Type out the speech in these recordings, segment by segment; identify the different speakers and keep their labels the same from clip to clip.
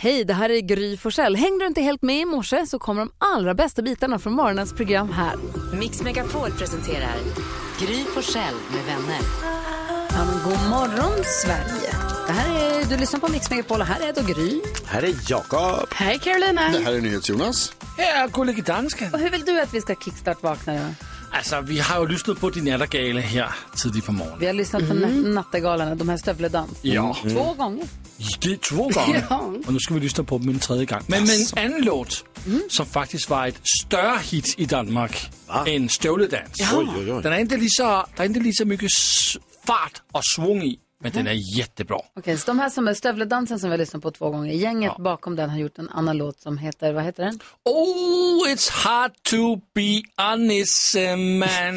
Speaker 1: Hej, det här är Gry Forssell. Hängde du inte helt med i morse så kommer de allra bästa bitarna från morgonens program här.
Speaker 2: Mix Megapol presenterar Gry Forssell med vänner.
Speaker 1: Ja, men god morgon, Sverige. Det här är, du lyssnar på Mix Megapol och här är då Gry.
Speaker 3: Här är Jakob.
Speaker 1: Hej, Carolina.
Speaker 4: Det här är NyhetsJonas.
Speaker 5: Ja, gullige dansken.
Speaker 1: Och hur vill du att vi ska kickstart-vakna? då?
Speaker 5: Altså, vi har jo lyssnat på din nattergale her tidligt på morgenen.
Speaker 1: Vi har lyssnat på mm. Nattegalarna, de här Stövledans.
Speaker 5: Ja.
Speaker 1: Två gånger.
Speaker 5: Mm. Det er två gange, og nu skal vi lyssna på dem en tredje gang. Men med en anden låt, som faktisk var et større hit i Danmark end Støvledans.
Speaker 3: Oj, oj, oj.
Speaker 5: Den er ikke lige så, der er ikke lige så mycket s- fart og svung i, men den er jättebra.
Speaker 1: Okej, så de här som är Stövledansen som vi har lyssnat på två gånger. Gänget bakom den har gjort en annan låt som heter, vad heter den?
Speaker 5: Oh, it's hard to be honest, eh, man.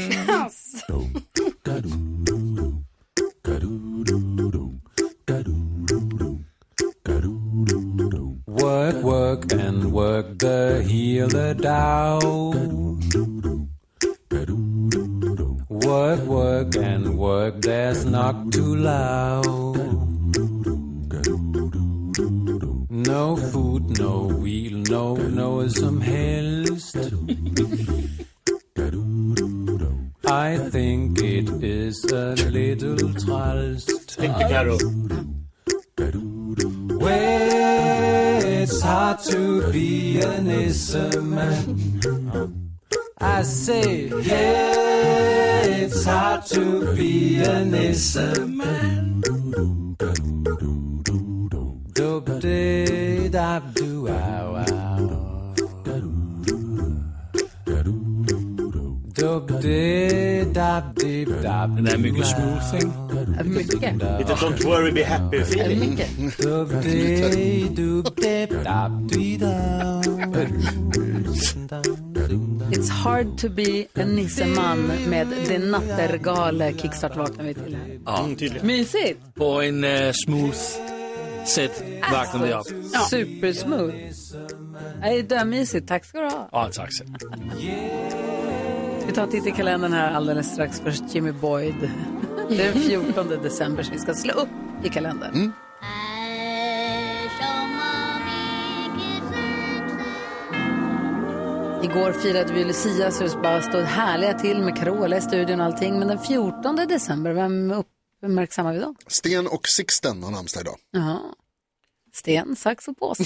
Speaker 6: Work, work, and work the healer down. Work, work, and work, that's not too loud. No food, no wheel, no, no, some helst. I think it is a little trust. Well, it's hard to be an man. I say, yeah, it's hard to be an man. Dub dee dab doo wow wow. Dub dee dab dee dab.
Speaker 5: Den er mycket smooth, ikke?
Speaker 1: Mm. Mycket.
Speaker 3: Lite Don't worry be happy feeling.
Speaker 1: Mycket.
Speaker 6: Dub dee dub dee dab dee dab.
Speaker 1: It's hard to be a nisseman med Det nattergale kickstart vaknar vi till här.
Speaker 3: Mm, tydligen.
Speaker 1: Mysigt!
Speaker 5: På en øh, smooth set vaknede vi op.
Speaker 1: Supersmooth. Nej, dömysigt. Tack ska du ha.
Speaker 5: Åh, tak selv.
Speaker 1: Vi tar en titt i kalendern här alldeles strax. Först Jimmy Boyd. Det är den 14 december så vi ska slå upp i kalendern.
Speaker 4: Mm.
Speaker 1: Igår firade vi Lucia så det bara stod härliga till med Carola i studion och allting. Men den 14 december, vem uppmärksammar vi då?
Speaker 4: Sten och Sixten har namnsdag idag.
Speaker 1: Jaha. Sten, sax och påse.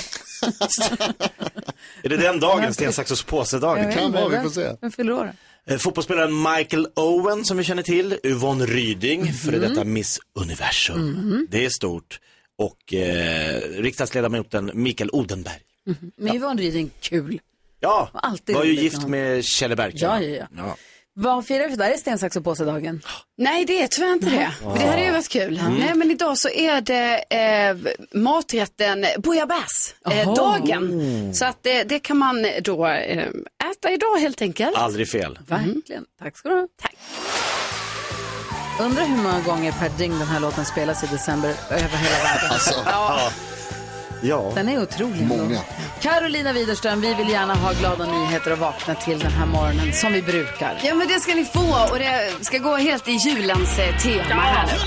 Speaker 3: Är det den dagen, sten, sax och påse-dagen?
Speaker 4: kan vara, vi får se.
Speaker 1: se. Vem fyller år?
Speaker 3: Eh, Fotbollsspelaren Michael Owen som vi känner till, Yvonne Ryding,
Speaker 1: Mhm.
Speaker 3: före detta Miss Universum. Det är stort. Och eh, riksdagsledamoten Mikael Odenberg.
Speaker 1: Men Yvonne Ryding, kul.
Speaker 3: Ja,
Speaker 1: Var alltid
Speaker 3: var ju
Speaker 1: roligt med
Speaker 3: gift
Speaker 1: honom.
Speaker 3: med Kjelle Bergqvist.
Speaker 1: Ja, ja, Vad firar vi för dag? Är det sten, sax och påse-dagen?
Speaker 7: Nej, det är tyvärr inte det. Men Det hade ju varit kul. Nej, men idag så är det eh, maträtten
Speaker 1: Jaha.
Speaker 7: bouillabaisse-dagen. Så att eh, det kan man då eh, äta idag helt enkelt.
Speaker 3: Aldrig fel.
Speaker 1: Mm. Verkligen. Tack ska du ha. Tack. Undrar hur många gånger per dygn den här låten spelas i december över hela världen.
Speaker 3: Ja.
Speaker 1: Den är otrolig. ändå.
Speaker 4: Många.
Speaker 1: Carolina Widerström, vi vill gärna ha glada nyheter och vakna till den här morgonen som vi brukar.
Speaker 7: Ja, men det ska ni få och det ska gå helt i julens eh, tema här nu. va?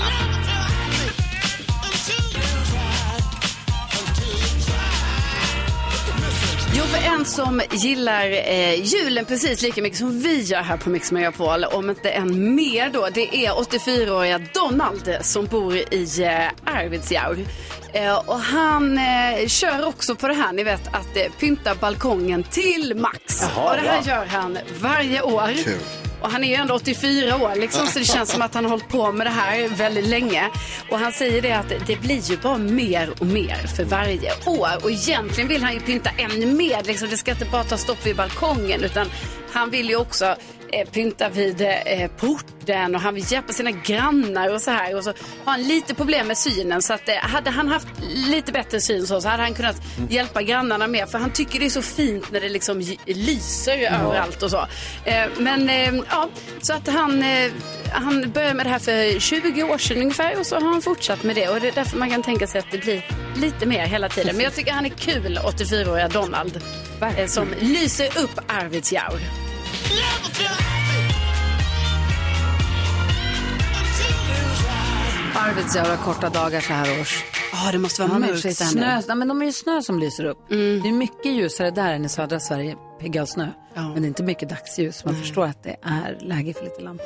Speaker 7: Jo, för en som gillar eh, julen precis lika mycket som vi gör här på Mix Megapol, om inte än mer då, det är 84-åriga Donald som bor i eh, Arvidsjaur. Eh, och han eh, kör också på det här, ni vet, att eh, pynta balkongen till max.
Speaker 3: Jaha,
Speaker 7: och det här
Speaker 3: ja.
Speaker 7: gör han varje år.
Speaker 4: Kul.
Speaker 7: Och han är ju ändå 84 år liksom, så det känns som att han har hållit på med det här väldigt länge. Och han säger det att det blir ju bara mer och mer för varje år. Och egentligen vill han ju pynta ännu mer. Liksom, det ska inte bara ta stopp vid balkongen utan han vill ju också eh, pynta vid eh, porten och han vill hjälpa sina grannar och så här. Och så har han lite problem med synen så att eh, hade han haft lite bättre syn så, så hade han kunnat
Speaker 3: Mm.
Speaker 7: hjälpa grannarna mer för han tycker det är så fint när det liksom j- lyser överallt och så. Eh, men eh, ja, så att han, eh, han började med det här för 20 år sedan ungefär och så har han fortsatt med det och det är därför man kan tänka sig att det blir lite mer hela tiden. Men jag tycker han är kul, 84-åriga Donald, eh, som lyser upp Arvidsjaur.
Speaker 1: Arvidsjaur har korta dagar så här års.
Speaker 7: Ja, det måste vara
Speaker 1: De är, i och för sig
Speaker 7: mörkt där
Speaker 1: snö,
Speaker 7: nu.
Speaker 1: nej, men de är ju snö som lyser upp. Det är mycket ljusare där än i södra Sverige, pigga av snö. Men det är inte mycket dagsljus. Man förstår att det är läge för lite lampor.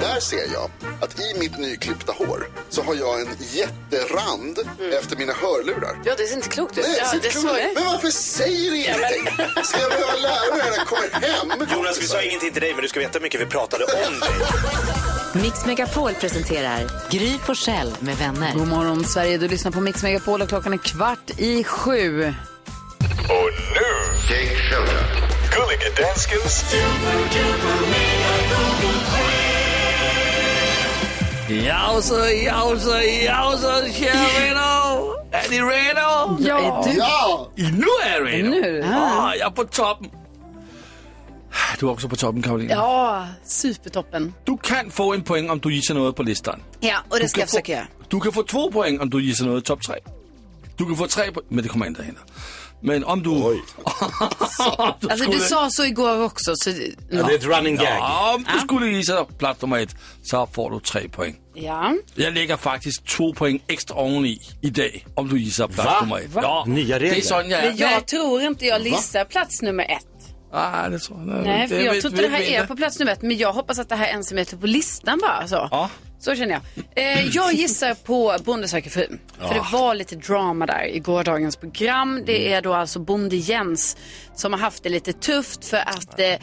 Speaker 4: Där ser jag att i mitt nyklippta hår så har jag en jätterand efter mina hörlurar.
Speaker 1: Ja, det ser inte klokt ut.
Speaker 4: Nej,
Speaker 7: Ja,
Speaker 4: så
Speaker 7: det
Speaker 4: tror
Speaker 7: såg
Speaker 4: jag-
Speaker 7: jag.
Speaker 4: Men varför säger du ingenting? Ska jag behöva lära mig när jag kommer hem?
Speaker 3: Jonas, vi sa ingenting till dig, men du ska veta hur mycket vi pratade om dig.
Speaker 2: Mix Megapol presenterar Gry på själv med vänner.
Speaker 1: God morgon Sverige, du lyssnar på Mix Megapol och klockan är kvart i sju.
Speaker 8: Och nu... Take shelter. Gulliga danskens...
Speaker 5: Jausa, jausa, jausa, kör vi då! Är ni redo?
Speaker 1: Ja. Är du?
Speaker 4: Ja!
Speaker 5: Nu är jag redo!
Speaker 1: Nu.
Speaker 5: Ah, jag är på toppen! Du är också på toppen, Karolina.
Speaker 7: Ja, supertoppen.
Speaker 5: Du kan få en poäng om du gissar något på listan.
Speaker 7: Ja, och det ska
Speaker 5: kan
Speaker 7: jag
Speaker 5: få-
Speaker 7: försöka göra.
Speaker 5: Du kan få två poäng om du gissar något i topp tre. Du kan få tre poäng, men det kommer inte hända. Men om du... Oj. om du
Speaker 7: Alltså, du
Speaker 5: skulle-
Speaker 7: sa så igår också. Så...
Speaker 3: Ja, det är ett running gag.
Speaker 5: Ja, om du skulle gissa plats nummer ett så får du tre poäng.
Speaker 7: Ja.
Speaker 5: Jag lägger faktiskt två poäng extra oveni idag om du gissar plats
Speaker 3: Va?
Speaker 5: nummer ett.
Speaker 3: Va? Nya regler.
Speaker 5: Det är sån jag är.
Speaker 7: Men jag tror inte jag listar plats nummer ett.
Speaker 5: Ah, det tror jag.
Speaker 7: Nej, för
Speaker 5: det
Speaker 7: jag
Speaker 5: vet-
Speaker 7: tror inte det här
Speaker 5: vet vi
Speaker 7: är
Speaker 5: inte.
Speaker 7: på plats nummer ett. Men jag hoppas att det här är en som heter på listan bara. Så,
Speaker 5: Ja.
Speaker 7: så känner jag. Eh, jag gissar på Bonde söker fru. För det var lite drama där i gårdagens program.
Speaker 5: Mm.
Speaker 7: Det är då alltså Bonde Jens som har haft det lite tufft för att eh,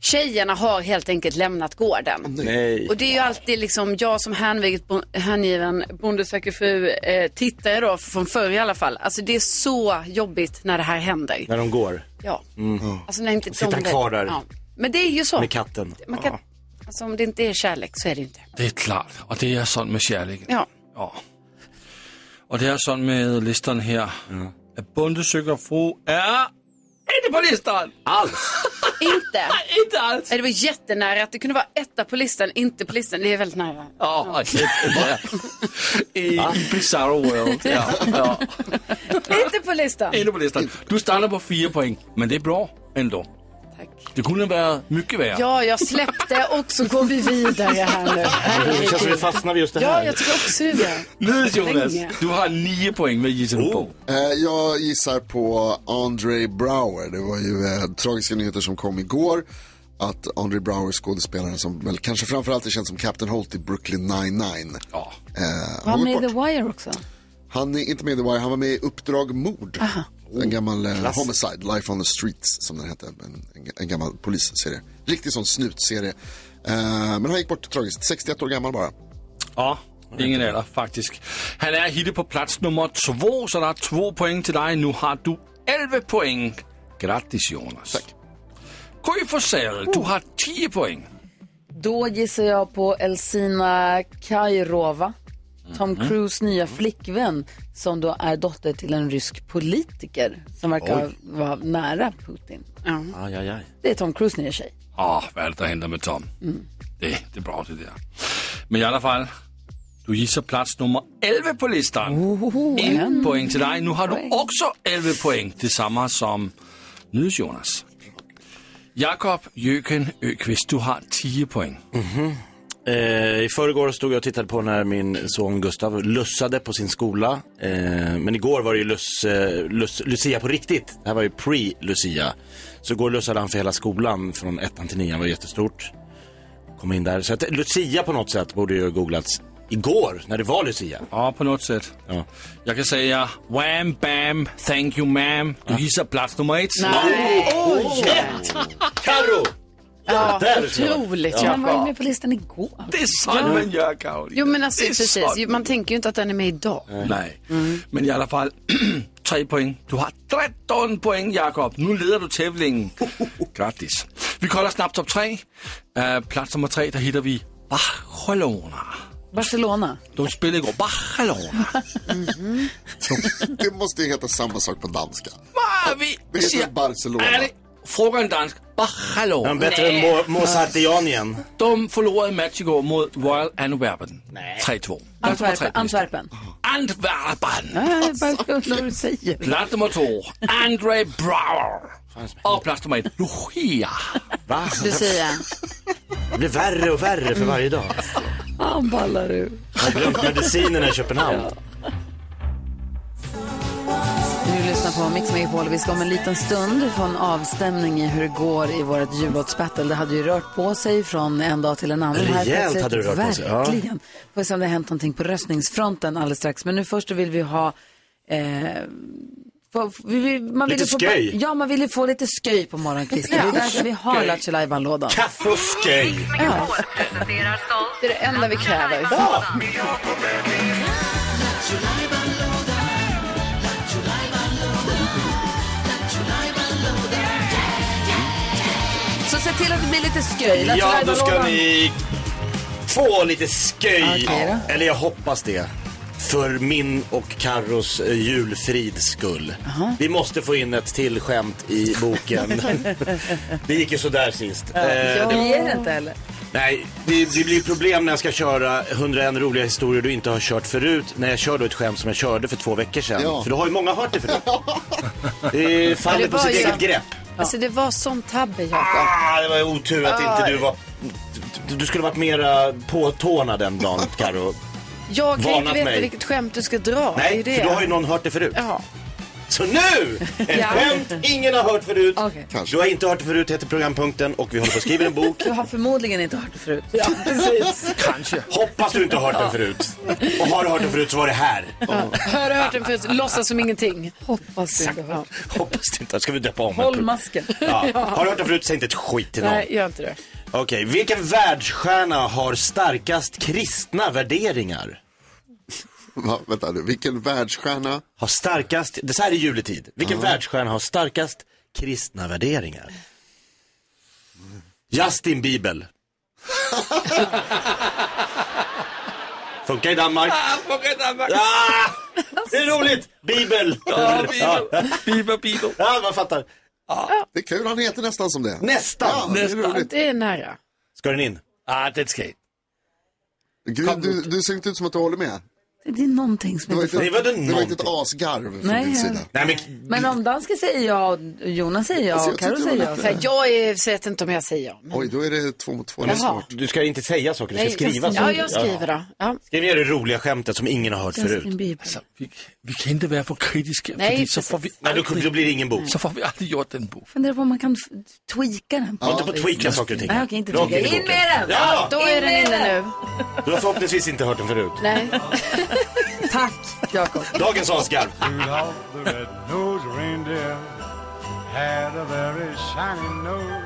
Speaker 7: tjejerna har helt enkelt lämnat gården.
Speaker 3: Nej.
Speaker 7: Och det är ju alltid liksom jag som hängivet, bo- hängiven Bonde söker fru eh, tittare då från förr i alla fall. Alltså det är så jobbigt när det här händer.
Speaker 3: När de går
Speaker 7: Ja. Alltså när inte
Speaker 3: Sitta
Speaker 7: de-
Speaker 3: Mm. kvar där.
Speaker 7: Ja. Men det är ju så.
Speaker 3: med katten.
Speaker 7: Man kan... Alltså om det inte är kärlek så är det inte.
Speaker 5: Det är klart, och det är sån med kärleken.
Speaker 7: Ja.
Speaker 5: Ja. Och det är sån med listan här. Att Bonde söker fru är inte på listan!
Speaker 7: inte.
Speaker 5: Inte alls!
Speaker 7: Nej, Det var jättenära att det kunde vara etta på listan, inte på listan. Det är väldigt nära.
Speaker 5: Ja, jättebra. I, I Bizarro World. Ja, ja.
Speaker 7: Inte på listan.
Speaker 5: Inte på listan. Du stannar på fyra poäng, men det är bra ändå.
Speaker 7: Tack.
Speaker 5: Det kunde vara mycket värre.
Speaker 7: Ja, jag släppte och så går vi vidare här nu.
Speaker 3: Det känns som vi
Speaker 7: Herregud.
Speaker 3: fastnar vid just det
Speaker 7: Ja,
Speaker 3: här.
Speaker 7: jag tycker också det.
Speaker 5: Nu Jonas,
Speaker 7: Länge.
Speaker 5: du har nio poäng. Vad gissar du på?
Speaker 4: Eh, Jag gissar på Andre Brower. Det var ju eh, tragiska nyheter som kom igår. Att Andre Brower, skådespelaren som väl kanske framförallt är känd som Captain Holt i Brooklyn 99.
Speaker 5: Ja.
Speaker 4: Eh,
Speaker 1: Var
Speaker 4: har
Speaker 1: med i
Speaker 4: gått
Speaker 1: The
Speaker 4: bort.
Speaker 1: Wire också.
Speaker 4: Han är inte med i The Wire, han var med i Uppdrag Mord. En gammal eh, Homicide, Life on the Streets som den hette. En, en, en gammal polisserie. Riktig sån snutserie. Eh, men han gick bort tragiskt, 61 år gammal bara.
Speaker 5: Ja, ingen eller faktiskt. Han är hitte på plats nummer två, så det är två poäng till dig. Nu har du 11 poäng. Grattis Jonas. Tack. Gry Forssell,
Speaker 3: Uh.
Speaker 5: du har 10 poäng.
Speaker 1: Då gissar jag på Elsina Kairova, Tom Cruise nya flickvän som då är dotter till en rysk politiker som verkar vara nära Putin.
Speaker 3: Aj, aj, aj.
Speaker 1: Det är Tom Cruise nya tjej.
Speaker 5: Ah, vad är det der händer med Tom?
Speaker 3: Mm.
Speaker 5: Det, det är bra det där. Men i alla fall, du gissar plats nummer 11 på listan. en poäng till dig. Nu har du också 11 poäng. Detsamma som nyhets Jonas. Jakob Jöken Öqvist, du har 10 poäng.
Speaker 3: Eh, I förrgår stod jag och tittade på när min son Gustav lussade på sin skola. Eh, men igår var det ju luss, eh, luss, Lucia på riktigt. Det här var ju pre-Lucia. Så igår lussade han för hela skolan från ettan till nian. var jättestort. Kom in där. Så att Lucia på något sätt borde ju ha googlats igår när det var Lucia.
Speaker 5: Ja, på något sätt.
Speaker 3: Ja.
Speaker 5: Jag kan säga wham, bam, thank you ma'am. Du gissar plats nummer ett.
Speaker 3: Karo!
Speaker 7: Ja,
Speaker 3: där är det.
Speaker 7: otroligt
Speaker 1: Han var ju
Speaker 7: Jakob.
Speaker 1: med på listan igår.
Speaker 5: Det är sån man gör, Karolina.
Speaker 7: Jo, men alltså
Speaker 5: Det är sådan.
Speaker 7: precis. Man Mm. tänker ju inte att den är med idag.
Speaker 5: Nej, men i alla fall tre poäng. Du har 13 poäng, Jakob. Nu leder du tävlingen. Grattis. Vi kollar snabbt topp tre. Uh, plats nummer tre, där hittar vi Barcelona.
Speaker 1: Barcelona.
Speaker 5: De spelade igår Barcelona.
Speaker 4: Det måste ju heta samma sak på danska.
Speaker 5: Vad är vi?
Speaker 4: Det
Speaker 5: vi
Speaker 3: Alltså,
Speaker 4: heter
Speaker 5: säger,
Speaker 4: Barcelona.
Speaker 5: Är det? Fråga en dansk. Barcelona.
Speaker 3: Men bättre än Mo- Mozartianien.
Speaker 5: De förlorade match igår mot Royal Antwerpen. 3-2. Plats nummer tre
Speaker 1: Antwerpen.
Speaker 5: på listan.
Speaker 1: Antwerpen.
Speaker 5: Antwerpen.
Speaker 1: Nej, bara undrar vad du säger.
Speaker 5: Plats nummer två, André Brower. Och plats nummer ett, Lucia.
Speaker 3: Va?
Speaker 1: Du säger.
Speaker 3: Det blir värre och värre för varje dag.
Speaker 1: Fan ballar du.
Speaker 3: Har glömt medicinerna i Köpenhamn.
Speaker 1: Du lyssnar på Mix Megapol. Vi ska om en liten stund få en avstämning i hur det går i vårt jullåtsbattle. Det hade ju rört på sig från en dag till en annan.
Speaker 3: Rejält
Speaker 1: plötsligt.
Speaker 3: hade det rört på sig, ja.
Speaker 1: Verkligen. Får se om det har hänt någonting på röstningsfronten alldeles strax. Men nu först vill vi ha... Eh, få- vi, vi, man
Speaker 3: Lite
Speaker 1: ville få,
Speaker 3: sköj.
Speaker 1: Ja, man ville få lite sköj på morgonkvisten. Det är därför vi har
Speaker 3: Sköj.
Speaker 1: Lattjo Lajban-lådan.
Speaker 3: Kaffe och sköj.
Speaker 7: Det är det enda vi kräver.
Speaker 1: Så se till att det blir lite sköj. Lattjo
Speaker 3: Ja, då ska
Speaker 1: Lajban-lådan.
Speaker 3: ni få lite sköj.
Speaker 1: Okej
Speaker 3: Eller jag hoppas det. För min och Carros eh, julfrids skull. Vi måste få in ett till skämt i boken. det gick ju sådär sist. Eh,
Speaker 1: Ja, vi ger det inte heller.
Speaker 3: Nej, det, det blir problem när jag ska köra 101 roliga historier du inte har kört förut. När jag kör då ett skämt som jag körde för två veckor sedan.
Speaker 4: Ja.
Speaker 3: För då har ju många hört det förut. det eh, faller
Speaker 7: det
Speaker 3: på
Speaker 7: var
Speaker 3: sitt
Speaker 7: ju-
Speaker 3: eget grepp.
Speaker 7: Alltså det var sån tabbe, Jakob.
Speaker 3: Ah, det var ju otur att inte du var... Du- Du skulle varit mera på tårna den dagen, Karo.
Speaker 7: Jag kan ju inte
Speaker 3: Varnat
Speaker 7: veta
Speaker 3: mig.
Speaker 7: vilket skämt du ska dra. det är
Speaker 3: Nej,
Speaker 7: ju det.
Speaker 3: för då har ju någon hört det förut.
Speaker 7: Ja.
Speaker 3: Så nu! Ett
Speaker 7: Ja.
Speaker 3: skämt ingen har hört förut.
Speaker 1: Okej.
Speaker 3: Du har inte hört det förut heter programpunkten och vi håller på att skriva en bok.
Speaker 1: Du har förmodligen inte hört det förut. Ja,
Speaker 3: Hoppas du inte har hört den förut. Och har du hört den förut så var det här.
Speaker 7: Har du hört den förut? Låtsas som ingenting.
Speaker 1: Hoppas du inte har.
Speaker 3: Hoppas det inte. Ska vi döpa om?
Speaker 1: Håll masken.
Speaker 3: Ja. Har du hört det förut? Säg inte ett skit till någon.
Speaker 7: Nej, gör inte det.
Speaker 3: Okej, vilken världsstjärna har starkast kristna värderingar?
Speaker 4: Va, vänta nu, vilken världsstjärna?
Speaker 3: Har starkast, det så här är juletid. Vilken världsstjärna har starkast kristna värderingar? Justin Bibel. Funkar i Danmark. Ah! Det är roligt! Bibel! Ja,
Speaker 5: Biba, biba.
Speaker 3: man fattar.
Speaker 4: Det är kul, han heter nästan som det.
Speaker 3: Nästan!
Speaker 4: Ja, det är roligt.
Speaker 7: Det är nära.
Speaker 3: Ska den in?
Speaker 5: Ah, det ska
Speaker 4: Gud, du, du ser inte ut som att du håller med.
Speaker 1: Det är någonting som
Speaker 4: Det var
Speaker 1: inte
Speaker 4: inte,
Speaker 3: Det var det
Speaker 4: det var inte ett
Speaker 3: någonting.
Speaker 4: asgarv från
Speaker 1: Nej,
Speaker 4: din
Speaker 1: ja.
Speaker 4: sida.
Speaker 3: Nej men,
Speaker 1: Men om dansken säger ja, och Jonas säger ja
Speaker 4: Alltså,
Speaker 1: och
Speaker 4: jag
Speaker 1: Carro
Speaker 4: tyckte det
Speaker 1: säger
Speaker 4: var
Speaker 1: ja.
Speaker 4: lite-
Speaker 7: Så här, jag är, vet inte om jag säger ja. Men...
Speaker 4: Oj, då är det två mot två. Det är
Speaker 7: Jaha.
Speaker 4: svårt.
Speaker 3: du ska inte säga saker, du ska skriva
Speaker 7: Ja,
Speaker 3: saker.
Speaker 7: jag skriver då. Ja.
Speaker 3: Skriv ner det roliga skämtet som ingen har hört
Speaker 1: Justin
Speaker 3: förut.
Speaker 1: Bieber.
Speaker 5: Vi, vi kan inte vara för kritiska,
Speaker 7: Nej,
Speaker 5: Nej, så
Speaker 7: precis.
Speaker 5: får, vi
Speaker 3: Nej, då, då
Speaker 5: aldrig,
Speaker 3: blir det ingen bok.
Speaker 5: så får vi aldrig gjort den bok.
Speaker 1: Funderar på om man kan f- tweaka den.
Speaker 3: Var inte på att tweaka saker och ting.
Speaker 1: Nej, okej, inte
Speaker 3: Rakt
Speaker 1: tweaka.
Speaker 3: in i
Speaker 1: In
Speaker 3: boken.
Speaker 1: med den!
Speaker 3: Ja!
Speaker 7: Då är den inne nu.
Speaker 3: Du har förhoppningsvis inte hört den förut.
Speaker 7: Nej.
Speaker 1: Tack, Jakob. Mm.
Speaker 3: Dagens avskarv.
Speaker 9: Rudolph the red-nosed reindeer had a very shiny nose.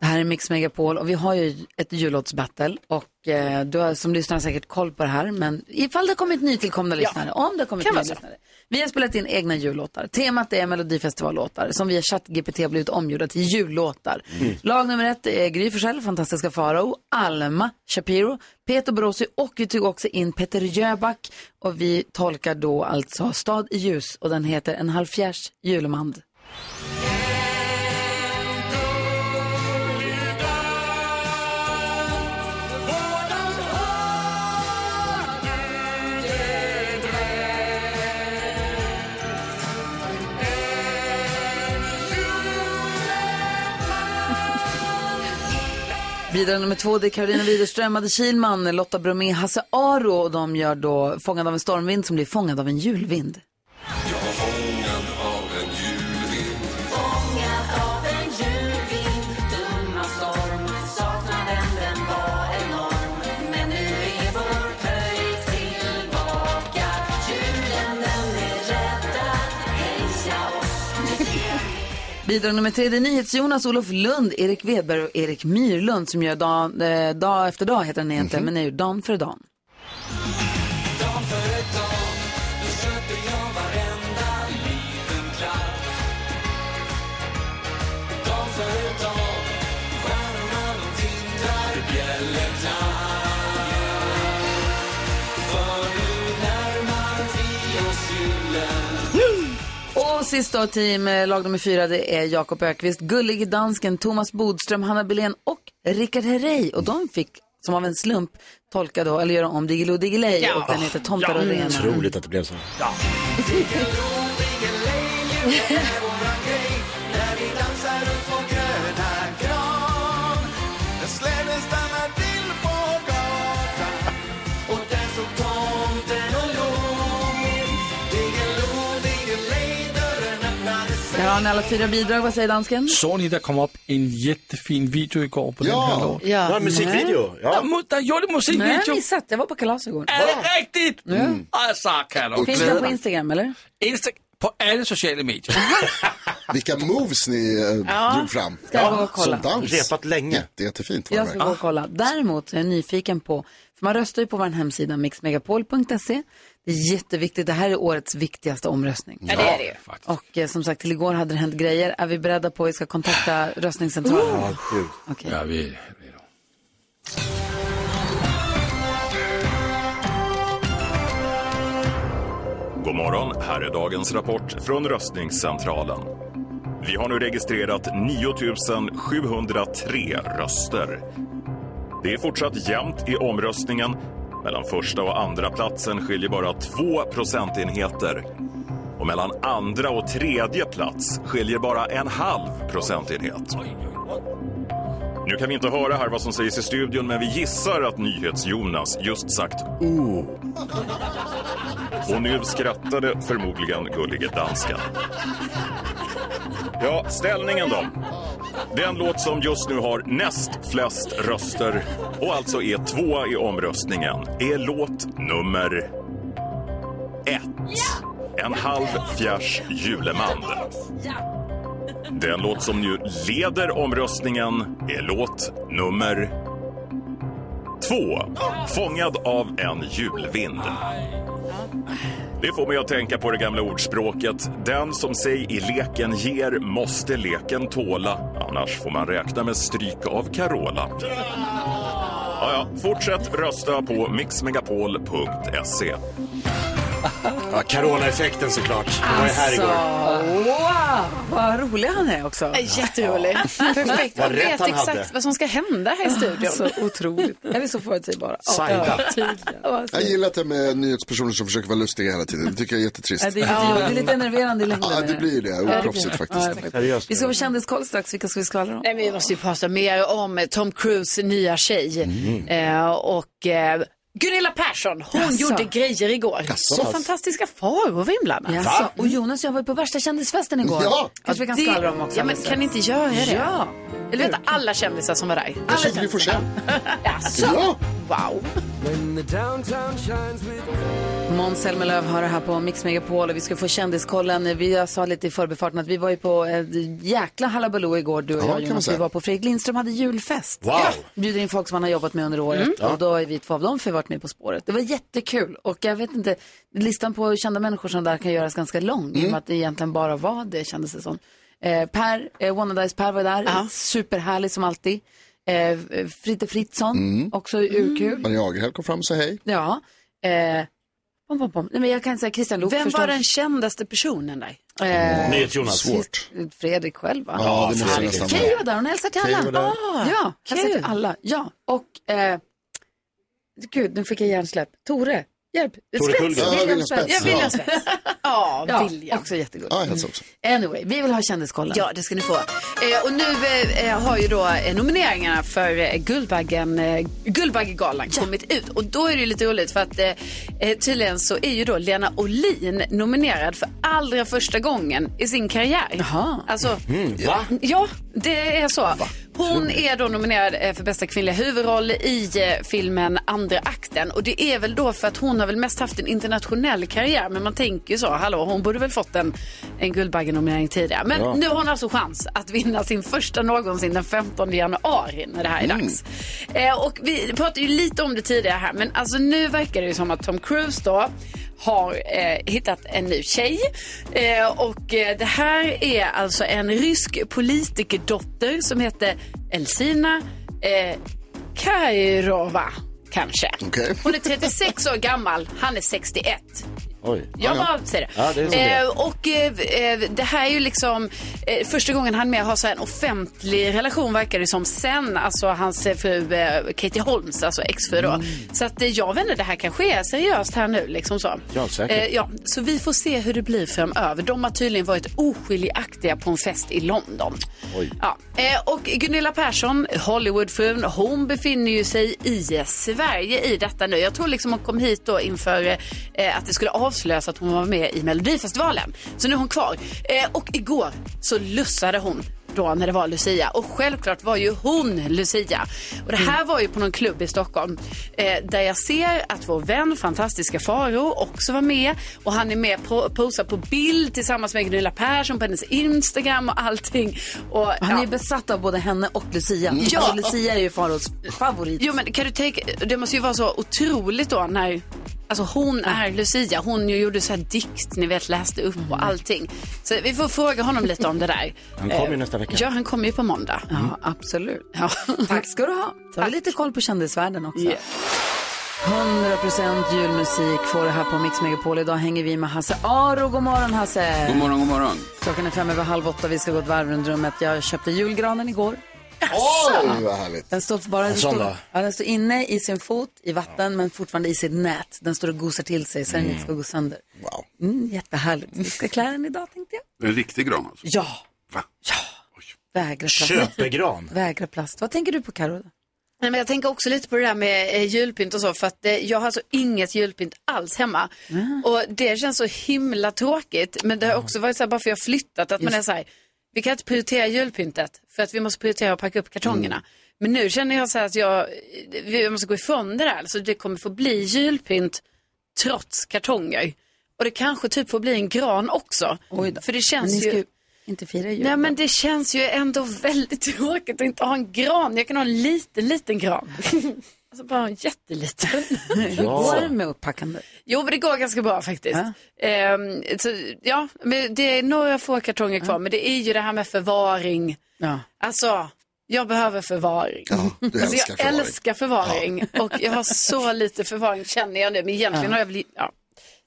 Speaker 1: Det här är Mix Megapol och vi har ju ett jullåtsbattle och eh, du har som lyssnare säkert koll på det här men ifall det har kommit nytillkomna lyssnare, om det har kommit
Speaker 7: Kan
Speaker 1: nya
Speaker 7: vara så.
Speaker 1: lyssnare. Vi har spelat in egna jullåtar. Temat är melodifestivallåtar som via ChatGPT har blivit omgjorda till jullåtar. Lag nummer ett är Gry Forssell, Fantastiska Farao, Alma Shapiro, Peter Borossi och vi tog också in Peter Jöback och vi tolkar då alltså Stad i ljus och den heter En halvfjärs julmand. Bidrag nummer två, det är Karolina Widerström, Adde Kihlman, Lotta Bromé, Hasse Aro och de gör då Fångad av en stormvind som blir Fångad av en julvind. Bidrag nummer tre, det är NyhetsJonas, Olof Lund, Erik Wedberg och Erik Myrlund som gör dag, eh, dag efter dag, heter den egentligen, men är ju Dan för Dan. Och sist då, team eh, lag nummer fyra, det är Jakob Ökvist, Gullig Dansken, Thomas Bodström, Hanna Belén och Rickard Herrey. Och de fick, som av en slump, tolka då, eller göra om Diggiloo Diggiley och den heter Tomtar och renar.
Speaker 3: Otroligt att det blev så.
Speaker 10: dansar runt vår gröna gran. Jag släden stannar till på
Speaker 1: Bra när alla fyra bidrag. Vad säger dansken?
Speaker 5: Såg ni, där kom upp en jättefin video igår på den här låten?
Speaker 1: Ja. Mm.
Speaker 3: Ja, musikvideo.
Speaker 5: Ja.
Speaker 3: Ja.
Speaker 5: Där gjorde
Speaker 1: Nej, jag
Speaker 5: musikvideo.
Speaker 1: missat. Jag var på kalas igår.
Speaker 5: Är det riktigt? Mm. Alltså, kan du
Speaker 1: Finns den på Instagram eller?
Speaker 5: Insta på alla sociala medier.
Speaker 4: Vilka moves ni eh, drog fram.
Speaker 1: Ska jag gå och kolla?
Speaker 4: Som dans.
Speaker 3: Repat länge.
Speaker 4: Jätte, jättefint var det
Speaker 1: Jag ska
Speaker 4: verkligen.
Speaker 1: gå och kolla. Däremot är jag nyfiken på, för man röstar ju på vår hemsida mixmegapol.se. Det är jätteviktigt. Det här är årets viktigaste omröstning.
Speaker 7: Ja, det är det ju.
Speaker 1: Och eh, som sagt, till igår hade det hänt grejer. Är vi beredda på att vi ska kontakta röstningscentralen? Ja, Okej.
Speaker 5: Ja, vi...
Speaker 10: God morgon, här är dagens rapport från röstningscentralen. Vi har nu registrerat 9 703 röster. Det är fortsatt jämnt i omröstningen. Mellan första och andra platsen skiljer bara 2 procentenheter. Och mellan andra och tredje plats skiljer bara en halv procentenhet. Nu kan vi inte höra här vad som sägs i studion, men vi gissar att NyhetsJonas just sagt oh. Och nu skrattade förmodligen gullige dansken. Ja, ställningen då. Den låt som just nu har näst flest röster och alltså är tvåa i omröstningen är låt nummer ett. En halv fjärs juleman. Den låt som nu leder omröstningen är låt nummer två. Fångad av en julvind. Det får mig att tänka på det gamla ordspråket. Den som sig i leken ger måste leken tåla. Annars får man räkna med stryk av Carola. Ja, ja, fortsätt rösta på mixmegapol.se.
Speaker 3: Ja, Carola-effekten såklart. Det var ju här
Speaker 1: Så,
Speaker 3: igår.
Speaker 1: wow, vad rolig han är också.
Speaker 7: Jätterolig. Perfekt.
Speaker 3: Vad
Speaker 7: Man
Speaker 3: rätt
Speaker 7: vet
Speaker 3: han hade.
Speaker 7: exakt vad som ska hända här i studion.
Speaker 1: Så otroligt. Jag är så förutsägbara.
Speaker 3: Sajda.
Speaker 1: Ja,
Speaker 4: Jag gillar att det med nyhetspersoner som försöker vara lustiga hela tiden. Det tycker jag är jättetrist.
Speaker 1: Ja, det, är lite, det är lite enerverande i längden.
Speaker 4: Ja,
Speaker 1: är
Speaker 4: det blir det. Oproffsigt faktiskt.
Speaker 1: Ja, vi ska få kändiskoll strax. Vilka ska vi skvallra om?
Speaker 7: Nej, men vi måste ju prata mer om Tom Cruise nya tjej.
Speaker 3: Mm.
Speaker 7: Eh, och eh, Gunilla Persson, hon
Speaker 1: Jaså.
Speaker 7: gjorde grejer igår. Så fantastiska faror var inblandade.
Speaker 1: Jaså, och Jonas och jag var ju på värsta kändisfesten igår.
Speaker 4: Ja.
Speaker 1: Kanske vi kan skvallra om också.
Speaker 7: Ja, men
Speaker 1: alldeles
Speaker 7: kan ni inte göra det?
Speaker 1: Ja.
Speaker 7: Eller vänta, alla kändisar som var där.
Speaker 4: Jag såg Gry Forssell. Ja,
Speaker 7: Wow.
Speaker 1: Måns Zelmerlöw har det här på Mix Megapol och vi ska få kändiskollen. Vi jag sa lite i förbifarten att vi var ju på ett jäkla halabaloo igår du och
Speaker 4: Ja,
Speaker 1: jag
Speaker 4: kan man
Speaker 1: Jonas. Vi
Speaker 4: säga.
Speaker 1: var på Fredrik Lindström hade julfest.
Speaker 3: Wow.
Speaker 1: Bjuder in folk som man har jobbat med under året
Speaker 4: Mm.
Speaker 1: och då är vi två av dem för vi har varit med På spåret. Det var jättekul och jag vet inte, listan på kända människor som där kan göras ganska lång i och
Speaker 4: Mm.
Speaker 1: med att det egentligen bara var det kändes det som. Eh, per, eh, Wannadies Per var där, superhärlig som alltid. Eh, Fritte Fritzson,
Speaker 4: Mm.
Speaker 1: också urkul.
Speaker 4: Maria Agerhäll kom fram och sa hej.
Speaker 1: Ja. Eh, pom, pom, pom. Nej, men jag kan säga Christian Luuk
Speaker 7: Vem
Speaker 1: förstås.
Speaker 7: var den kändaste personen där?
Speaker 1: Eh,
Speaker 3: NyhetsJonas.
Speaker 4: Svårt.
Speaker 1: Fredrik själv va?
Speaker 4: Ja, det måste jag nästan vara.
Speaker 1: Keyyo var där, hon hälsar till
Speaker 4: Keyyo
Speaker 1: alla.
Speaker 4: var där.
Speaker 1: ja, hälsar till alla. Ja, och eh, gud, nu fick jag hjärnsläpp. Tore, hjälp.
Speaker 3: Tore Kullgren.
Speaker 4: Ja, William Spets.
Speaker 1: Ja,
Speaker 4: Ja.
Speaker 1: William Spets.
Speaker 7: Ja,
Speaker 1: Ja,
Speaker 7: William.
Speaker 1: också jättegullig.
Speaker 4: Ja, jag hälsar också.
Speaker 1: Anyway, vi vill ha kändiskollen.
Speaker 7: Ja, det ska ni få. Eh, och nu eh, eh, har ju då eh, nomineringarna för eh, Guldbaggen, eh, Guldbaggegalan kommit ut. Och då är det ju lite roligt för att eh, eh, tydligen så är ju då Lena Olin nominerad för allra första gången i sin karriär.
Speaker 1: Jaha.
Speaker 7: Alltså,
Speaker 3: Va?
Speaker 7: Ja, det är så. Hon är då nominerad eh, för bästa kvinnliga huvudroll i eh, filmen Andra akten. Och det är väl då för att hon har väl mest haft en internationell karriär. Men man tänker ju så, hallå, hon borde väl fått en, en Guldbaggenominering tidigare. Men nu har hon alltså chans att vinna sin första någonsin den 15 januari när det här är dags. Eh, och vi pratade ju lite om det tidigare här, men alltså nu verkar det ju som att Tom Cruise då har eh, hittat en ny tjej. Eh, och eh, det här är alltså en rysk politikerdotter som heter Elsina eh, Kairova, kanske.
Speaker 4: Okej.
Speaker 7: Hon är 36 år gammal, han är 61.
Speaker 3: Oj.
Speaker 7: Jag
Speaker 4: Ja, ja.
Speaker 7: bara säger det.
Speaker 3: Ja, det är så det är.
Speaker 7: Eh, och eh, eh, det här är ju liksom eh, första gången han med har så här en offentlig relation verkar det som sen, alltså hans eh, fru eh, Katie Holmes, alltså exfru då.
Speaker 3: Mm.
Speaker 7: Så att eh, jag vet inte, det här kanske är seriöst här nu liksom så.
Speaker 3: Ja, säkert.
Speaker 7: Eh, ja, så vi får se hur det blir framöver. De har tydligen varit oskiljaktiga på en fest i London. Ja. Eh, och Gunilla Persson, Hollywoodfrun, hon befinner ju sig i eh, Sverige i detta nu. Jag tror liksom hon kom hit då inför eh, att det skulle avslutas avslöjas att hon var med i Melodifestivalen. Så nu är hon kvar. Eh, och igår så lussade hon då när det var Lucia. Och självklart var ju hon Lucia. Och det här var ju på någon klubb i Stockholm eh, där jag ser att vår vän fantastiska Faro också var med. Och han är med och posar på bild tillsammans med Gunilla Persson på hennes Instagram och allting. Och,
Speaker 1: Han är besatt av både henne och Lucia.
Speaker 7: Ja.
Speaker 1: Alltså, Lucia är ju Faros favorit.
Speaker 7: Jo, men kan du tänka, det måste ju vara så otroligt då när, alltså hon är Lucia, hon ju gjorde så här dikt, ni vet, läste upp och allting. Så vi får fråga honom lite om det där.
Speaker 3: Mm. Han kommer ju
Speaker 7: Eh,
Speaker 3: nästa vecka. Mm.
Speaker 7: Ja, han kommer ju på måndag.
Speaker 1: Ja, absolut. Tack ska du ha. Så har vi lite koll på kändisvärlden också. 100% julmusik får det här på Mix Megapol. Idag hänger vi med Hasse Aro. God morgon Hasse!
Speaker 11: God morgon, god morgon.
Speaker 1: Klockan är fem över halv åtta. Vi ska gå ett varv runt rummet. Jag köpte julgranen igår.
Speaker 4: Åh, vad härligt.
Speaker 1: Den står, bara, den,
Speaker 4: sån
Speaker 1: står,
Speaker 4: då?
Speaker 1: ja, den står inne i sin fot i vatten men fortfarande i sitt nät. Den står och gosar till sig så den inte ska gå sönder.
Speaker 4: Wow.
Speaker 1: Mm, jättehärligt. Vi ska klä den idag tänkte jag.
Speaker 11: En riktig gran alltså?
Speaker 1: Ja.
Speaker 11: Va?
Speaker 1: Vägra plast.
Speaker 3: Köpegran.
Speaker 1: Vägra plast. Vad tänker du på Karo?
Speaker 7: Nej, men jag tänker också lite på det där med eh, julpynt och så, för att eh, jag har alltså inget julpynt alls hemma.
Speaker 1: Ah.
Speaker 7: Och det känns så himla tråkigt, men det har också varit så här, bara för jag har flyttat, att man
Speaker 1: Just.
Speaker 7: är så här, vi kan inte prioritera julpyntet, för att vi måste prioritera att packa upp kartongerna.
Speaker 1: Mm.
Speaker 7: Men nu känner jag så här att jag, jag måste gå ifrån det där, så det kommer få bli julpynt trots kartonger. Och det kanske typ får bli en gran också. För det
Speaker 1: Men ni
Speaker 7: känns
Speaker 1: ska
Speaker 7: ju...
Speaker 1: ju inte fira jul.
Speaker 7: Nej men det känns ju ändå väldigt tråkigt att inte ha en gran. Jag kan ha en liten, liten gran. alltså bara en jätteliten.
Speaker 1: Hur går det med upppackande?
Speaker 7: Jo men det går ganska bra faktiskt. Ehm, så, ja, men det är några få kartonger kvar. Men det är ju det här med förvaring.
Speaker 1: Ja.
Speaker 7: Alltså, jag behöver förvaring.
Speaker 1: du
Speaker 7: alltså, jag
Speaker 1: älskar förvaring.
Speaker 7: älskar förvaring. Och jag har så lite förvaring känner jag nu. Men egentligen
Speaker 1: Ja.
Speaker 7: har jag väl... Ja.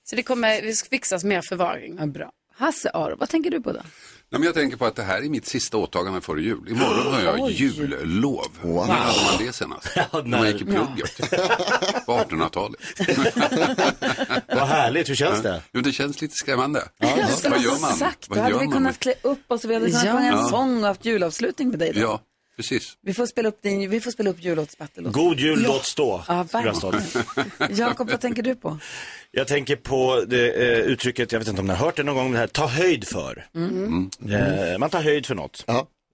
Speaker 7: Så det kommer det ska fixas mer förvaring.
Speaker 1: Ja, bra. Hasse Aro, vad tänker du på då?
Speaker 11: Nej, men jag tänker på att det här är mitt sista åtagande före jul. Imorgon har jag
Speaker 1: Oj.
Speaker 11: jullov. När hade man det senast? när man gick i plugget. På 1800-talet.
Speaker 3: Vad härligt, hur känns det?
Speaker 11: Jo, det känns lite skrämmande.
Speaker 1: Som
Speaker 11: Vad gör man?
Speaker 1: Sagt, Alltså, då
Speaker 11: Vad
Speaker 1: hade
Speaker 11: gör
Speaker 1: vi
Speaker 11: man?
Speaker 1: kunnat klä upp oss och vi hade kunnat
Speaker 11: Ja.
Speaker 1: sjunga en
Speaker 11: Ja.
Speaker 1: sång och haft julavslutning med dig. Då.
Speaker 11: Ja, precis.
Speaker 1: Vi får spela upp, din, vi får spela upp jullåtsbattle.
Speaker 3: God jul,
Speaker 1: Ja.
Speaker 3: låt stå.
Speaker 1: Ja, verkligen.
Speaker 3: Bröstat.
Speaker 1: Jakob, vad tänker du på?
Speaker 3: Jag tänker på det, eh, uttrycket, jag vet inte om ni har hört det någon gång, men det här ta höjd för.
Speaker 1: Mm.
Speaker 3: Eh, man tar höjd för något.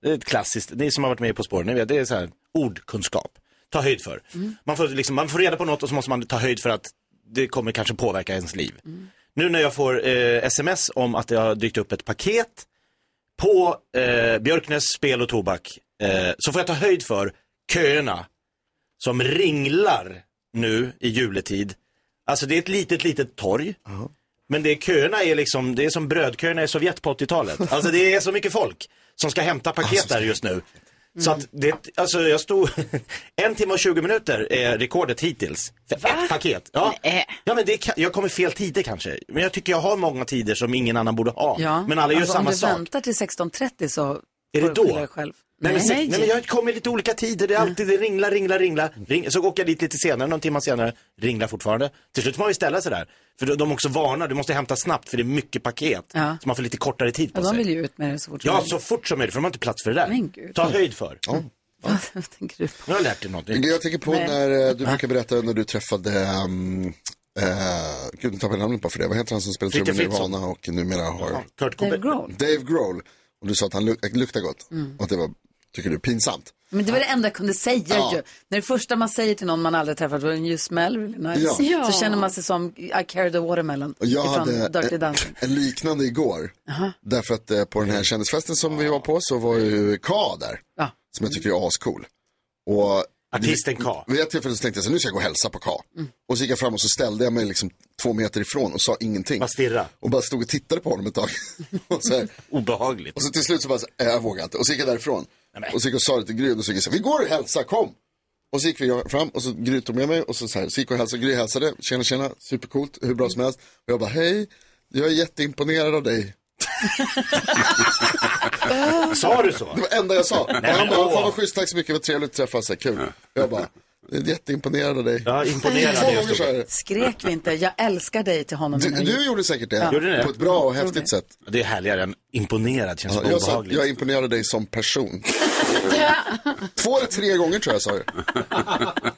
Speaker 3: Det är ett klassiskt, ni som har varit med På spåren, ni vet, det är så här ordkunskap. Ta höjd för. Man, får, liksom, man får reda på något och så måste man ta höjd för att det kommer kanske påverka ens liv. Nu när jag får eh, sms om att det har dykt upp ett paket på eh, Björknäs spel och tobak eh, så får jag ta höjd för köerna som ringlar nu i juletid. Alltså det är ett litet, litet torg. Men det är, köerna är liksom, det är som brödköerna i Sovjet på 80-talet. Alltså det är så mycket folk som ska hämta paket där just nu. Så att det, alltså jag stod, en timme och 20 minuter är rekordet hittills. För ett paket. Ja.
Speaker 1: eh.
Speaker 3: ja men det, kan- jag kommer fel tider kanske. Men jag tycker jag har många tider som ingen annan borde ha. Men alla gör
Speaker 1: alltså,
Speaker 3: samma
Speaker 1: om du
Speaker 3: sak.
Speaker 1: väntar till 16.30 så är
Speaker 3: Är det då?
Speaker 1: själv.
Speaker 3: Nej, men, nej. nej men jag kommer i lite olika tider, det är alltid det ringlar, ringlar, ringlar. Ring, så åker jag dit lite senare, någon timme senare, ringlar fortfarande. Till slut får man ju ställa sig där. För de- de också varnar, du måste hämta snabbt för det är mycket paket.
Speaker 1: Ja.
Speaker 3: Så man får lite kortare tid
Speaker 1: ja,
Speaker 3: på
Speaker 1: de vill
Speaker 3: sig.
Speaker 1: ju ut med det så fort som
Speaker 3: Ja,
Speaker 1: möjligt.
Speaker 3: så fort som möjligt, för de har inte plats för det där.
Speaker 1: Men gud.
Speaker 3: Ta höjd för.
Speaker 1: Vad tänker du på?
Speaker 3: Nu har jag lärt dig något nytt.
Speaker 4: Jag tänker på
Speaker 1: Nej.
Speaker 4: när eh, du brukar berätta när du träffade, um, eh, gud nu tappade jag namnet bara för det, vad heter han som spelar trummor i
Speaker 3: Fritte Fritzson.
Speaker 4: Nirvana och numera har
Speaker 3: Kurt
Speaker 1: Dave Grohl.
Speaker 4: Dave Grohl. Och du sa att han luk- luktar gott och att det var, tycker du, pinsamt.
Speaker 1: Men det var det enda jag kunde säga
Speaker 4: Ja.
Speaker 1: ju. När det första man säger till någon man aldrig träffat var en you smell really
Speaker 4: Ja.
Speaker 1: nice.
Speaker 4: Ja.
Speaker 1: Så känner man sig som I carry the watermelon
Speaker 4: Och jag
Speaker 1: ifrån
Speaker 4: hade
Speaker 1: Dirty
Speaker 4: en,
Speaker 1: Dancing.
Speaker 4: en liknande igår. Därför att eh, på den här kändisfesten som vi var på så var ju K där.
Speaker 1: Ja.
Speaker 4: Som jag tycker är ascool. Och
Speaker 3: Artisten K.
Speaker 4: Vid ett tillfälle så tänkte jag så här, nu ska jag gå och hälsa på K. Och så gick jag fram och så ställde jag mig liksom två meter ifrån och sa ingenting.
Speaker 3: Bara stirra.
Speaker 4: Och bara stod och tittade på honom ett tag. och, så här,
Speaker 3: Obehagligt.
Speaker 4: och så till slut så bara, så här, "Äh, jag vågar inte. Och så gick jag därifrån. Och så gick jag och sa det till Gry och då så gick jag så här, vi går och hälsar, kom. Och så gick vi fram och så Gry tog med mig och så, så, här, så gick jag och hälsade, Gry hälsade, tjena tjena, supercoolt, hur bra som helst. Och jag bara, hej, jag är jätteimponerad av dig.
Speaker 3: Sa du så?
Speaker 4: Det var det enda jag sa. och
Speaker 3: Nej,
Speaker 4: han
Speaker 3: men
Speaker 4: bara,
Speaker 3: åh.
Speaker 4: fan vad schysst, tack så mycket, vad trevligt att träffas, så här, kul. Jag bara, jag är jätteimponerad av dig.
Speaker 3: Ja, imponerad.
Speaker 4: Två
Speaker 3: är jag
Speaker 4: gånger så
Speaker 3: stor.
Speaker 4: här.
Speaker 1: Skrek vi inte jag älskar dig till honom?
Speaker 4: Du,
Speaker 1: innan
Speaker 4: du
Speaker 1: jul?
Speaker 4: gjorde säkert det,
Speaker 3: Gjorde ni det?
Speaker 4: på ett bra och häftigt sätt.
Speaker 3: Det är härligare än imponerad, känns
Speaker 4: Ja,
Speaker 3: bara
Speaker 4: jag sa att
Speaker 3: obehagligt.
Speaker 4: jag imponerade dig som person. Två eller tre gånger tror jag jag sa det.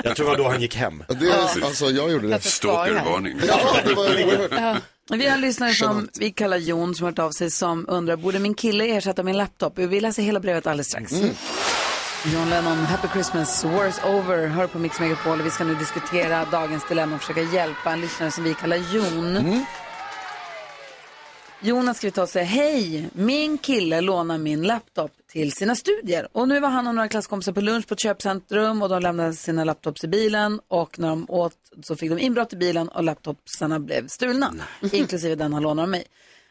Speaker 3: Jag tror det var då han gick hem.
Speaker 4: Ja, det. Alltså jag gjorde det.
Speaker 11: Stalkervarning.
Speaker 4: Ja, det var oerhört.
Speaker 1: Vi har en lyssnare som vi kallar Jon som har hört av sig som undrar, borde min kille ersätta min laptop? Vi läser hela brevet alldeles strax. John Lennon, Happy Christmas, War's Over, hör på Mix Megapol. Vi ska nu diskutera dagens dilemma och försöka hjälpa en lyssnare som vi kallar Jon. Jon har skrivit av sig, hej, min kille lånar min laptop till sina studier. Och nu var han och några klasskompisar på lunch på ett köpcentrum och de lämnade sina laptops i bilen och när de åt så fick de inbrott i bilen och laptopsarna blev stulna, inklusive den han lånade av mig.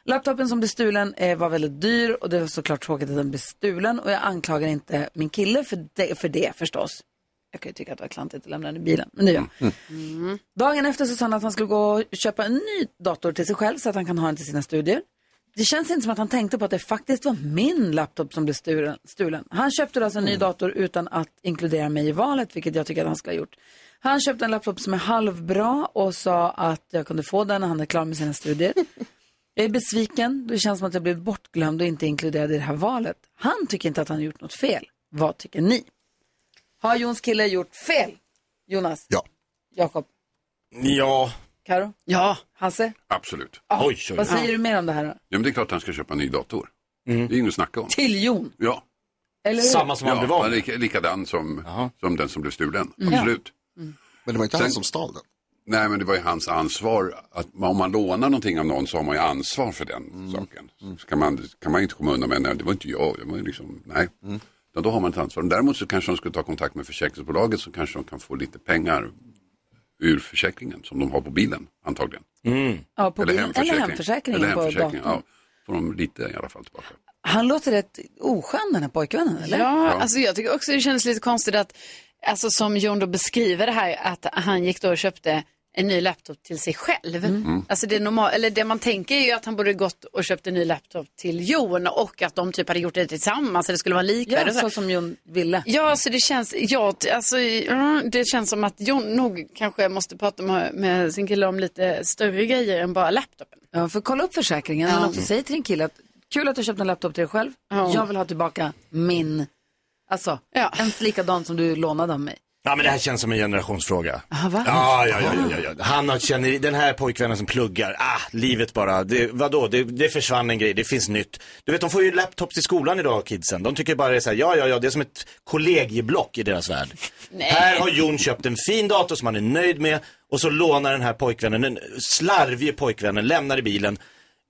Speaker 1: Laptopen som blev stulen eh, var väldigt dyr och det var såklart tråkigt att den blev stulen och jag anklagar inte min kille för det, för det förstås. Jag kan ju tycka att det var klantigt att lämna den i bilen, men det gör jag. Dagen efter så sa han att han skulle gå och köpa en ny dator till sig själv så att han kan ha den till sina studier. Det känns inte som att han tänkte på att det faktiskt var min laptop som blev stulen. stulen. Han köpte då alltså en ny dator utan att inkludera mig i valet, vilket jag tycker att han skulle ha gjort. Han köpte en laptop som är halvbra och sa att jag kunde få den när han är klar med sina studier. Jag är besviken, det känns som att jag blivit bortglömd och inte inkluderad i det här valet. Han tycker inte att han har gjort något fel. Vad tycker ni? Har Jons kille gjort fel? Jonas?
Speaker 4: Ja.
Speaker 1: Jakob?
Speaker 3: Ja.
Speaker 1: Karo? Ja. Hasse?
Speaker 11: Absolut.
Speaker 1: Ja. Vad säger du mer om det här då?
Speaker 11: Ja, men det är klart att han ska köpa en ny dator. Det är inget att snacka om.
Speaker 1: Till Jon?
Speaker 11: Ja.
Speaker 1: Eller hur?
Speaker 11: ja, Lika, likadan som, som den som blev stulen.
Speaker 1: Mm.
Speaker 11: Absolut.
Speaker 1: Mm.
Speaker 11: Men det var
Speaker 4: inte han som stal den.
Speaker 11: Nej, men det var ju hans ansvar. Att man- om man lånar någonting av någon så har man ju ansvar för den saken. Så kan man, kan man inte komma undan med, nej, det var inte jag. Det var ju liksom, nej. Utan Då har man ett ansvar. Däremot så kanske de skulle ta kontakt med försäkringsbolaget så kanske de kan få lite pengar ur försäkringen som de har på bilen antagligen.
Speaker 1: Ja, på bilen eller hemförsäkringen
Speaker 11: Eller
Speaker 1: på
Speaker 11: hemförsäkringen,
Speaker 1: datorn.
Speaker 11: ja. Får de lite i alla fall tillbaka.
Speaker 1: Han låter rätt oskön den här pojkvännen, eller?
Speaker 7: Ja,
Speaker 11: Ja.
Speaker 7: alltså jag tycker också det kändes lite konstigt att, alltså som Jon då beskriver det här, att han gick då och köpte en ny laptop till sig själv.
Speaker 1: Mm.
Speaker 7: Alltså det, normal, eller det man tänker är ju att han borde gått och köpt en ny laptop till Jon och att de typ hade gjort det tillsammans, så det skulle vara likvärdigt.
Speaker 1: Ja, så som Jon ville.
Speaker 7: Ja, så det känns, ja, t- alltså, mm, det känns som att Jon nog kanske måste prata med, med sin kille om lite större grejer än bara laptopen.
Speaker 1: Ja, för kolla upp försäkringen. Men också säg till din kille att kul att du köpte en laptop till dig själv.
Speaker 7: Ja.
Speaker 1: Jag vill ha tillbaka min. Alltså, en likadan som du lånade av mig.
Speaker 3: Ja, men det här känns som en generationsfråga.
Speaker 1: Aha, va?
Speaker 3: Ja, ja, ja, ja, ja, ja. Han har, känner, den här pojkvännen som pluggar, ah, livet bara, det, vadå, det, det försvann en grej, det finns nytt. Du vet, de får ju laptops i skolan idag, kidsen. De tycker bara det är så här, ja, ja, ja, det är som ett kollegieblock i deras värld. Här har Jon köpt en fin dator som han är nöjd med och så lånar den här pojkvännen, den slarvige pojkvännen, lämnar i bilen.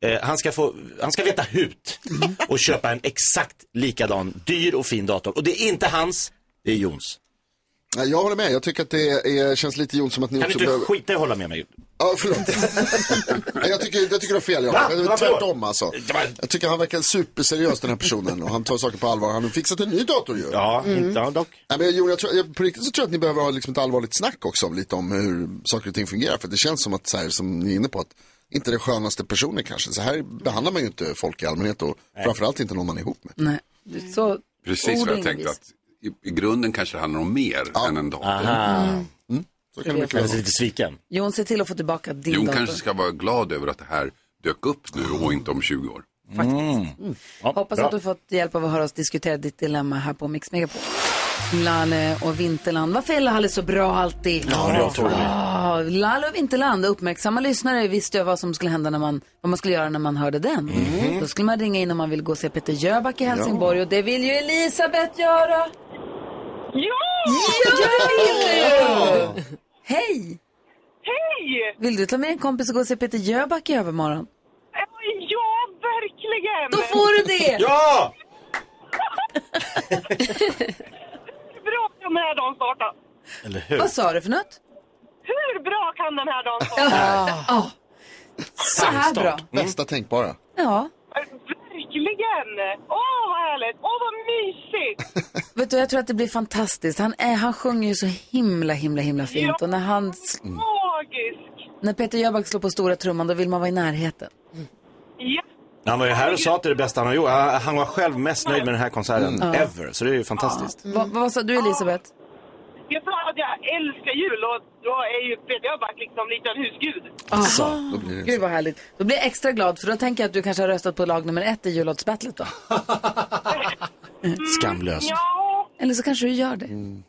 Speaker 3: Eh, han, ska få, han ska veta hut och köpa en exakt likadan dyr och fin dator. Och det är inte hans, det är Jons.
Speaker 4: Nej, Jag håller med, jag tycker att det är, känns lite Jon som att ni
Speaker 3: Kan du
Speaker 4: också
Speaker 3: inte skita i att hålla med mig?
Speaker 4: Ja, förlåt. Nej, jag, tycker, jag tycker du har fel,
Speaker 3: Va?
Speaker 4: ja. Det var
Speaker 3: Varför?
Speaker 4: tvärtom alltså. Jag tycker han verkar superseriös den här personen och han tar saker på allvar. Han har fixat en ny dator ju.
Speaker 3: Ja,
Speaker 4: Mm.
Speaker 3: inte han dock.
Speaker 4: Nej, men Jon, jag tror, jag, på riktigt så tror jag att ni behöver ha liksom ett allvarligt snack också om lite om hur saker och ting fungerar. För det känns som att, så här, som ni är inne på, att inte den skönaste personen kanske. Så här behandlar man ju inte folk i allmänhet och framförallt inte någon man är ihop med.
Speaker 1: Nej. Så,
Speaker 11: Precis
Speaker 1: ord
Speaker 11: vad
Speaker 1: och
Speaker 11: jag tänkte.
Speaker 1: inga vis.
Speaker 11: Att i, I grunden kanske det handlar om mer än en dator.
Speaker 1: Aha. Mm.
Speaker 11: Så
Speaker 1: kan det mycket väl vara.
Speaker 3: lite sviken.
Speaker 1: Jon, se till att få tillbaka din
Speaker 11: Jon
Speaker 1: dator.
Speaker 11: kanske ska vara glad över att det här dök upp nu och inte om 20 år.
Speaker 1: Mm. Hoppas att du fått hjälp av att höra oss diskutera ditt dilemma här på Mix Megapol. Lalle och Vinterland. Varför är Lalle så bra alltid?
Speaker 3: Ja, det är otroligt.
Speaker 1: Ah, Lalle och Vinterland, uppmärksamma lyssnare visste ju vad som skulle hända när man, vad man skulle göra när man hörde den.
Speaker 12: Mhm.
Speaker 1: Då skulle man ringa in om man vill gå och se Peter Jöback i Helsingborg och det vill ju Elisabeth göra.
Speaker 12: Ja!
Speaker 1: Ja, det vill du! Hej!
Speaker 12: Hej!
Speaker 1: Vill du ta med en kompis och gå och se Peter Jöback i övermorgon?
Speaker 12: Ja, verkligen!
Speaker 1: Då får du det!
Speaker 3: Ja!
Speaker 12: Bra kan den här dagen starta.
Speaker 3: Eller hur?
Speaker 1: Vad sa du för något?
Speaker 12: Hur bra kan den här dagen starta?
Speaker 1: Ja. Ah. Så här bra.
Speaker 4: Bästa tänkbara.
Speaker 1: Ja.
Speaker 12: Verkligen! Åh, vad härligt! Åh, vad mysigt!
Speaker 1: Vet du, jag tror att det blir fantastiskt. Han, är, han sjunger ju så himla, himla, himla fint. Och när, han, s-
Speaker 12: Magisk!
Speaker 1: när Peter Jöback slår på stora trumman, då vill man vara i närheten.
Speaker 12: Ja,
Speaker 3: Han var ju här och sa att det är det bästa han har gjort. Han han var själv mest nöjd med den här konserten
Speaker 1: Mm.
Speaker 3: ever, så det är ju fantastiskt.
Speaker 1: Va- Vad sa du, Elisabeth?
Speaker 12: jag sa att jag älskar jul och då är ju Peter Jöback liksom lite en husgud.
Speaker 1: Aha. Ah. Gud, vad härligt. Då blir jag extra glad, för då tänker jag att du kanske har röstat på lag nummer ett i jullåtsbattlet då.
Speaker 3: Skamlöst.
Speaker 1: Eller så kanske du gör det. Mm.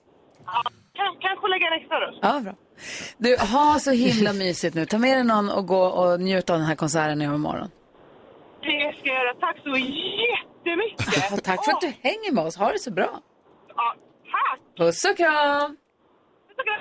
Speaker 12: Kan, kanske lägga en extra röst.
Speaker 1: Ja, bra. Du, ha så himla mysigt nu. Ta med dig någon och gå och njut av den här konserten i morgon.
Speaker 12: Det ska jag göra. Tack så jättemycket.
Speaker 1: Och tack för att du hänger med oss. Ha det så bra.
Speaker 12: Ja, tack.
Speaker 1: Puss och kram!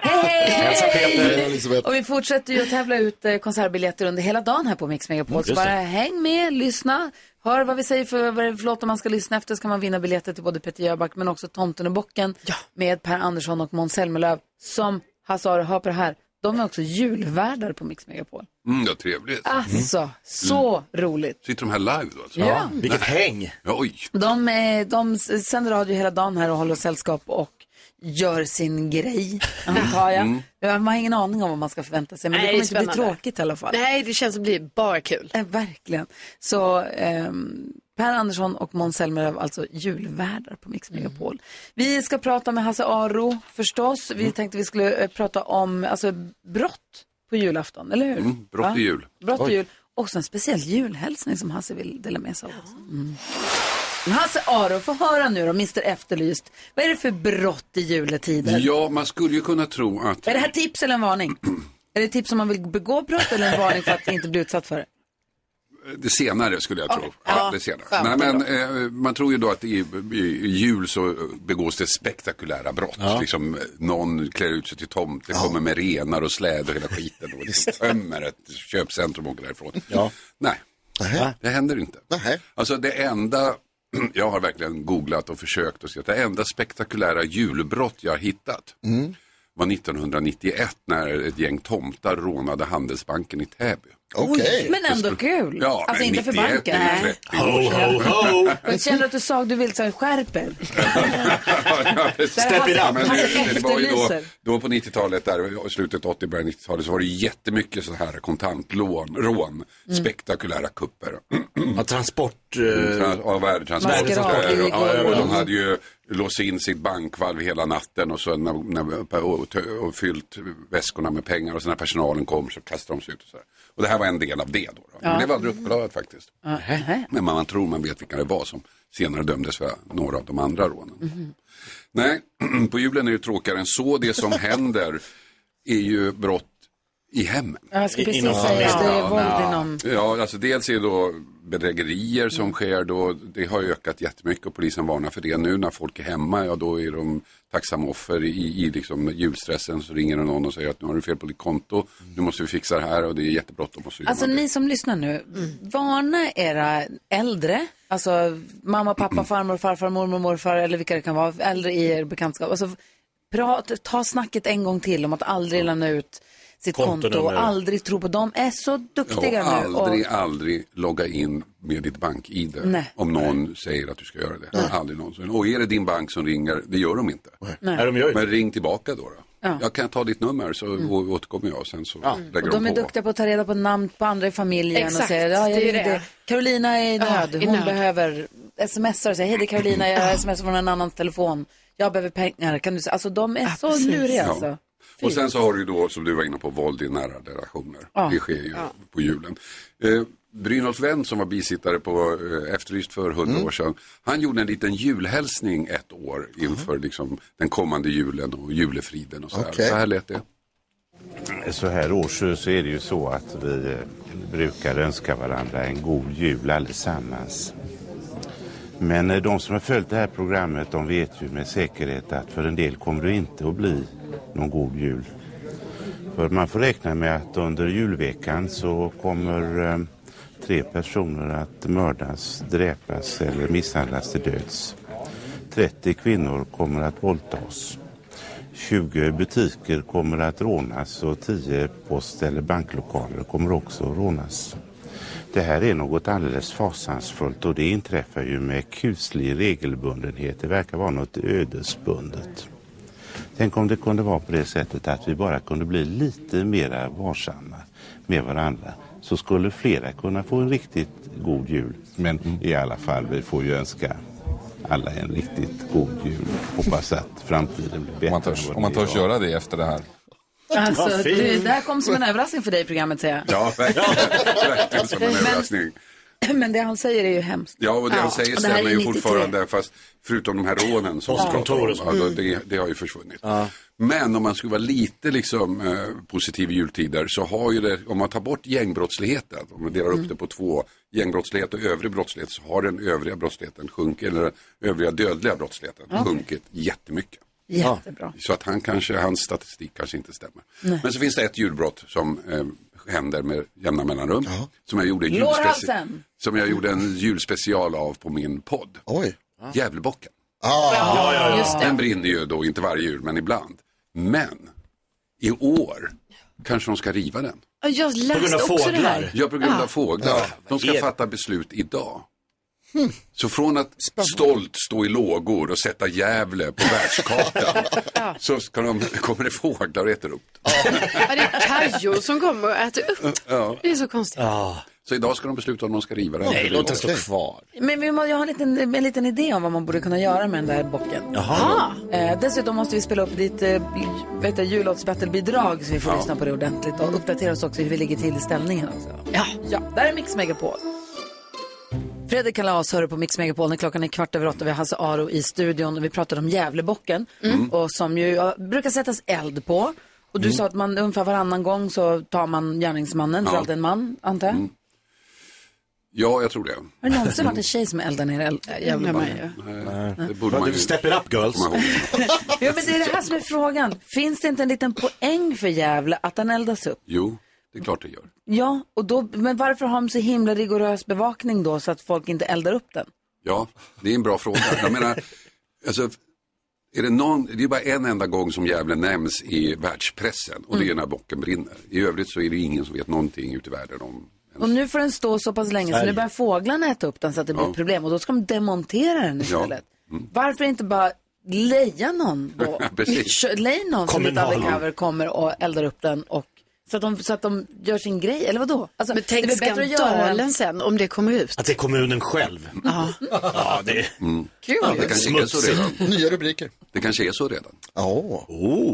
Speaker 1: Hej,
Speaker 12: Hälsa
Speaker 1: hej!
Speaker 12: Peter.
Speaker 4: Elisabeth.
Speaker 1: Och vi fortsätter ju att tävla ut eh, konsertbiljetter under hela dagen här på Mix Megapol.
Speaker 13: Mm,
Speaker 1: Så
Speaker 13: just
Speaker 1: bara
Speaker 13: det.
Speaker 1: häng med, lyssna, hör vad vi säger för, vad det är för låtar man ska lyssna efter. Ska man vinna biljetter till både Peter Jöback men också Tomten och bocken med Per Andersson och Måns Zelmerlöw som Hasse Aro, hör på det här, de är också julvärdar på Mix Megapol.
Speaker 11: Mm, ja, trevligt.
Speaker 13: Mm.
Speaker 1: Alltså, så roligt.
Speaker 11: Sitter de här live då? Alltså?
Speaker 1: Ja. Ja, vilket
Speaker 11: häng. Oj.
Speaker 1: De, eh, de s- sänder radio hela dagen här och håller oss sällskap och gör sin grej, antar jag.
Speaker 7: Mm.
Speaker 1: Man har ingen aning om vad man ska förvänta sig, men
Speaker 7: Nej,
Speaker 1: det kommer inte bli
Speaker 7: spännande.
Speaker 1: tråkigt i alla fall.
Speaker 7: Nej, det känns att bli bara kul.
Speaker 1: Eh, verkligen. Så ehm, Per Andersson och Måns Zelmerlöw, alltså julvärdar på Mix
Speaker 11: Mm.
Speaker 1: Megapol. Vi ska prata med Hasse Aro förstås.
Speaker 11: Mm.
Speaker 1: Vi tänkte vi skulle eh, prata om alltså, brott på julafton, eller hur?
Speaker 11: Mm, brott
Speaker 1: Va?
Speaker 11: i jul.
Speaker 1: Brott och
Speaker 11: Oj.
Speaker 1: jul. Också en speciell julhälsning som Hasse vill dela med sig av. också. Mm. Men Hasse Aro, få höra nu då, Mr Efterlyst. Vad är det för brott i juletider?
Speaker 11: Ja, man skulle ju kunna tro att... eh,
Speaker 1: Är det här tips eller en varning? är det tips om man vill begå brott eller en varning för att inte bli utsatt för det?
Speaker 11: Det senare skulle jag tro. Ja, det senare.
Speaker 1: skönt
Speaker 11: Nej, men, eh, man tror ju då att i, i, i jul så begås det spektakulära brott. Liksom, eh, någon klär ut sig till tomte, kommer med renar och släde och hela skiten och liksom tömmer ett köpcentrum och åker därifrån.
Speaker 4: Ja.
Speaker 11: Nej, det händer inte. Alltså det enda, jag har verkligen googlat och försökt och sett, det enda spektakulära julbrott jag har hittat
Speaker 4: Mm.
Speaker 11: var 1991 när ett gäng tomtar rånade Handelsbanken i Täby.
Speaker 1: Oj, men ändå kul.
Speaker 11: Ja,
Speaker 1: alltså
Speaker 11: men
Speaker 1: inte för
Speaker 11: 91 är
Speaker 1: banken.
Speaker 11: ju
Speaker 1: Nej.
Speaker 11: 30 år sedan.
Speaker 1: Jag känner att du sa att du vill så här, skärp er.
Speaker 11: Ja, precis.
Speaker 1: Där har
Speaker 11: Ja,
Speaker 1: han-
Speaker 11: men
Speaker 1: han
Speaker 11: det- Det var ju då,
Speaker 1: efterlyser.
Speaker 11: då på 90-talet, där, i slutet 80, början 90-talet, så var det jättemycket sådana här kontantlån, rån,
Speaker 1: Mm.
Speaker 11: spektakulära kupper.
Speaker 3: Ja, transport... eh,
Speaker 1: eh,
Speaker 11: Mm, ja,
Speaker 3: Maskerad.
Speaker 11: värdetransporter. Ja, och de
Speaker 3: Mm.
Speaker 11: hade ju låst in sitt bankvalv hela natten och, så när, när, och, tö- och fyllt väskorna med pengar och sen när personalen kom så kastade de sig ut. Och, så här. och det här var en del av det. Då, då.
Speaker 1: Ja.
Speaker 11: Men det var aldrig uppklarat faktiskt.
Speaker 1: Nähä.
Speaker 11: Men man, man tror man vet vilka det var som senare dömdes för några av de andra rånen.
Speaker 1: Mhm.
Speaker 11: Nej, på julen är det tråkigare än så. Det som händer är ju brott i hemmen.
Speaker 1: Ja, Jag skulle precis säga att det är våld inom...
Speaker 11: Ja, alltså dels är det då bedrägerier som sker då. Det har ökat jättemycket och polisen varnar för det. Nu när folk är hemma, ja då är de tacksamma offer i, i liksom julstressen. Så ringer det någon och säger att nu har du fel på ditt konto. Nu måste vi fixa det här och det är jättebråttom. Och så gör
Speaker 1: Alltså
Speaker 11: man det.
Speaker 1: ni som lyssnar nu, varna era äldre, alltså mamma, pappa, farmor, farfar, mormor, morfar eller vilka det kan vara, äldre i er bekantskap. Alltså, prat, ta snacket en gång till om att aldrig lämna ut sitt konto och
Speaker 11: Kontonummer.
Speaker 1: aldrig tro på dem. är så duktiga
Speaker 11: och
Speaker 1: nu. och-
Speaker 11: aldrig, aldrig logga in med ditt bank-id
Speaker 1: Nej.
Speaker 11: om någon säger att du ska göra det. Aldrig någonsin. Och är det din bank som ringer, det gör de inte.
Speaker 1: Nej. Nej, de gör ju
Speaker 11: Men ring tillbaka då. då.
Speaker 1: Ja. Mm.
Speaker 11: Jag kan ta ditt nummer så å- återkommer jag och sen så lägger
Speaker 1: Och de
Speaker 11: de
Speaker 1: är
Speaker 11: på.
Speaker 1: duktiga på att ta reda på namn på andra i familjen och
Speaker 7: Exakt,
Speaker 1: säger ja, jag
Speaker 7: det är
Speaker 1: ringde.
Speaker 7: det.
Speaker 1: Carolina är i
Speaker 7: Ja,
Speaker 1: nöd,
Speaker 7: i
Speaker 1: hon
Speaker 7: nöd.
Speaker 1: behöver smsar och säger hej det är Carolina, jag smsar från en annan telefon, jag behöver pengar, kan du se? Alltså de är så
Speaker 7: precis.
Speaker 1: luriga
Speaker 11: Ja.
Speaker 1: alltså.
Speaker 11: Och sen så har du ju då, som du var inne på, våld i nära relationer.
Speaker 1: Ja.
Speaker 11: Det sker ju
Speaker 1: Ja.
Speaker 11: på julen. Eh, Brynolf Wendt som var bisittare på eh, Efterlyst för hundra
Speaker 1: Mm.
Speaker 11: år sedan, han gjorde en liten julhälsning ett år inför
Speaker 1: Mm.
Speaker 11: liksom, den kommande julen och julefriden och så här.
Speaker 14: Okej.
Speaker 11: Så här lät det.
Speaker 14: Så här års så är det ju så att vi eh, brukar önska varandra en god jul allesammans. Men eh, de som har följt det här programmet de vet ju med säkerhet att för en del kommer det inte att bli någon god jul. För man får räkna med att under julveckan så kommer eh, tre personer att mördas, dräpas eller misshandlas till döds. 30 kvinnor kommer att våldtas. 20 butiker kommer att rånas och 10 post eller banklokaler kommer också att rånas. Det här är något alldeles fasansfullt och det inträffar ju med kuslig regelbundenhet. Det verkar vara något ödesbundet. Tänk om det kunde vara på det sättet att vi bara kunde bli lite mera varsamma med varandra så skulle flera kunna få en riktigt god jul. Men i alla fall, vi får ju önska alla en riktigt god jul. Hoppas att framtiden blir bättre. Om man törs,
Speaker 15: om man törs göra det efter det här.
Speaker 1: Alltså,
Speaker 15: Vad fint.
Speaker 1: du, det här kom som en överraskning för dig i programmet säger jag.
Speaker 11: Ja, verkligen. verkligen som en
Speaker 1: Men-
Speaker 11: överraskning.
Speaker 1: Men det han säger är ju hemskt.
Speaker 11: Ja, och det han säger
Speaker 1: och det här
Speaker 11: stämmer
Speaker 1: är
Speaker 11: ju
Speaker 1: 93.
Speaker 11: fortfarande, fast förutom de här rånen som vi pratar om,
Speaker 3: Postkontor och så.
Speaker 11: ja,
Speaker 1: Mm.
Speaker 11: då- det, det har ju försvunnit. Men om man skulle vara lite liksom, eh, positiv i jultider så har ju det, om man tar bort gängbrottsligheten, om man delar
Speaker 1: Mm.
Speaker 11: upp det på två, gängbrottslighet och övrig brottslighet, så har den övriga brottsligheten sjunkit, eller den övriga dödliga brottsligheten
Speaker 1: Ja.
Speaker 11: sjunkit jättemycket.
Speaker 1: Jättebra.
Speaker 11: Så att han kanske, hans statistik kanske inte stämmer.
Speaker 1: Nej.
Speaker 11: Men så finns det ett julbrott som eh, händer med jämna mellanrum. Som jag gjorde i julspecial.
Speaker 1: Lårhalsen!
Speaker 11: Som jag gjorde en julspecial av på min podd.
Speaker 4: Oj.
Speaker 11: Djävulbocken.
Speaker 4: Ah. ja, ja, ja. Just det.
Speaker 11: Den brinner ju då, inte varje jul, men ibland. Men i år kanske de ska riva den.
Speaker 7: Ja, Jag läste också det här.
Speaker 11: Ja, på grund av
Speaker 7: Ja.
Speaker 11: fåglar. De ska fatta beslut idag.
Speaker 7: Hmm.
Speaker 11: Så från att stolt stå i lågor och sätta Gävle på världskartan så ska de, kommer det fåglar och äter upp det.
Speaker 7: Ja, det är kajor som kommer och äter upp.
Speaker 11: Ja.
Speaker 7: Det är så konstigt.
Speaker 11: Så idag ska de besluta om de ska riva den.
Speaker 3: Nej, låt den stå kvar.
Speaker 1: Men vi må, jag har en liten, en liten idé om vad man borde kunna göra med den där bocken.
Speaker 3: Jaha.
Speaker 1: Eh, dessutom måste vi spela upp ditt eh, bl- vet jag, jullåtsbattle-bidrag så vi får
Speaker 2: Ja.
Speaker 1: lyssna på det ordentligt och uppdatera oss också hur vi ligger till i stämningen. Också. Ja. ja, där är Mix Megapol. Fredrik Kalas hör du på Mix Megapol när klockan är kvart över åtta. Vi har Hasse Aro i studion och vi pratade om Gävlebocken
Speaker 2: Mm.
Speaker 1: och som ju ja, brukar sättas eld på. Och du
Speaker 2: Mm.
Speaker 1: sa att man ungefär varannan gång så tar man gärningsmannen, för
Speaker 11: Ja.
Speaker 1: allt är en man, antar
Speaker 2: Mm.
Speaker 1: jag.
Speaker 11: Ja, jag tror det.
Speaker 1: Har det någonsin varit en tjej som eldar ner eld- äh, Gävleborg?
Speaker 11: Nej, Eh, det borde man ju...
Speaker 3: Step it up girls.
Speaker 1: Ja, men det är det här som är frågan. Finns det inte en liten poäng för Gävle att den eldas upp?
Speaker 11: Jo, det är klart det gör.
Speaker 1: Ja, och då, men varför har de så himla rigorös bevakning då så att folk inte eldar upp den?
Speaker 11: Ja, det är en bra fråga. Jag menar, alltså, är det, någon, det är bara en enda gång som Gävle nämns i världspressen och det är när bocken brinner. I övrigt så är det ingen som vet någonting ute i världen om
Speaker 1: Och nu får den stå så pass länge så
Speaker 11: Sverige.
Speaker 1: nu börjar fåglarna äta upp den så att det blir
Speaker 11: Ja. Mm.
Speaker 1: ett problem och då ska de demontera den istället. Varför inte bara leja någon då?
Speaker 11: Precis.
Speaker 1: Kö- Leja någon som
Speaker 11: Kom
Speaker 1: lite
Speaker 11: en
Speaker 1: undercover kommer och eldar upp den och så att de, så att de gör sin grej, eller vadå? Alltså,
Speaker 7: Men tänk
Speaker 1: det är väl bättre att göra den-
Speaker 7: skandalen sen om det kommer ut.
Speaker 3: Att det är kommunen själv.
Speaker 7: Ja.
Speaker 3: Ja, det är...
Speaker 7: Kul.
Speaker 11: Ja, det kanske är så
Speaker 3: Smutsigt.
Speaker 11: redan.
Speaker 4: Nya rubriker.
Speaker 11: Det kanske är så redan.
Speaker 4: Oh.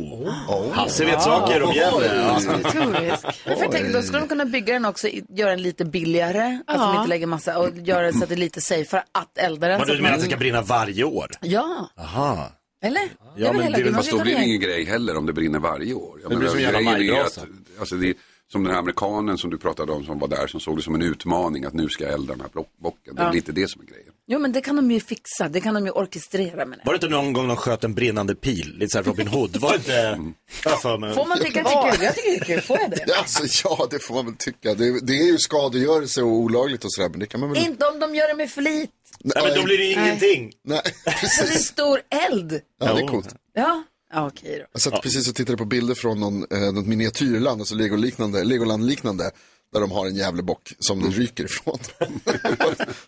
Speaker 11: Oh.
Speaker 3: Hasse Alltså, vet saker om Gävle. Ja.
Speaker 1: För jag tänker, då skulle de kunna bygga den också, i- göra den lite billigare, att de
Speaker 7: Ja.
Speaker 1: inte lägger massa, och göra den så att det är lite safer att elda den.
Speaker 3: Vad
Speaker 1: så
Speaker 3: du
Speaker 1: att
Speaker 3: menar
Speaker 1: man-
Speaker 3: att det ska brinna varje år?
Speaker 1: Ja,
Speaker 3: Aha.
Speaker 1: eller? Det är
Speaker 11: Ja,
Speaker 1: väl
Speaker 11: men
Speaker 1: hela
Speaker 11: det är väl
Speaker 1: grejen.
Speaker 11: fast då
Speaker 1: Man
Speaker 11: blir
Speaker 1: ska
Speaker 11: det
Speaker 1: ta
Speaker 11: ingen grej heller om det brinner varje år. Jag
Speaker 3: Det blir
Speaker 11: menar,
Speaker 3: som en jävla
Speaker 11: grejen är ju
Speaker 3: majbrasa.
Speaker 11: att- Alltså det är, som den här amerikanen som du pratade om som var där som såg det som en utmaning att nu ska jag elda den här block- bocken. Det är
Speaker 1: Ja.
Speaker 11: väl inte det som är grejen.
Speaker 1: Jo, men det kan de ju fixa, det kan de ju orkestrera med.
Speaker 3: Var det inte någon gång de sköt en brinnande pil? Lite såhär Robin Hood. Var det inte... Jag har för mig.
Speaker 1: Får man tycka att det är kul? Jag tycker det är kul, får jag det?
Speaker 4: Alltså, ja, det får man väl tycka. Det, det är ju skadegörelse och olagligt och sådär, men det kan man väl...
Speaker 1: Inte om de gör det med flit,
Speaker 3: Nej, men då blir det ju
Speaker 1: Nej.
Speaker 3: ingenting.
Speaker 4: Nej,
Speaker 1: så det är stor eld.
Speaker 4: ja, det är coolt.
Speaker 1: Ja, ja okej då.
Speaker 4: Jag satt precis och tittade på bilder från någon, eh, något miniatyrland, alltså Legoliknande, Legoland-liknande, där de har en Gävlebock som det ryker ifrån.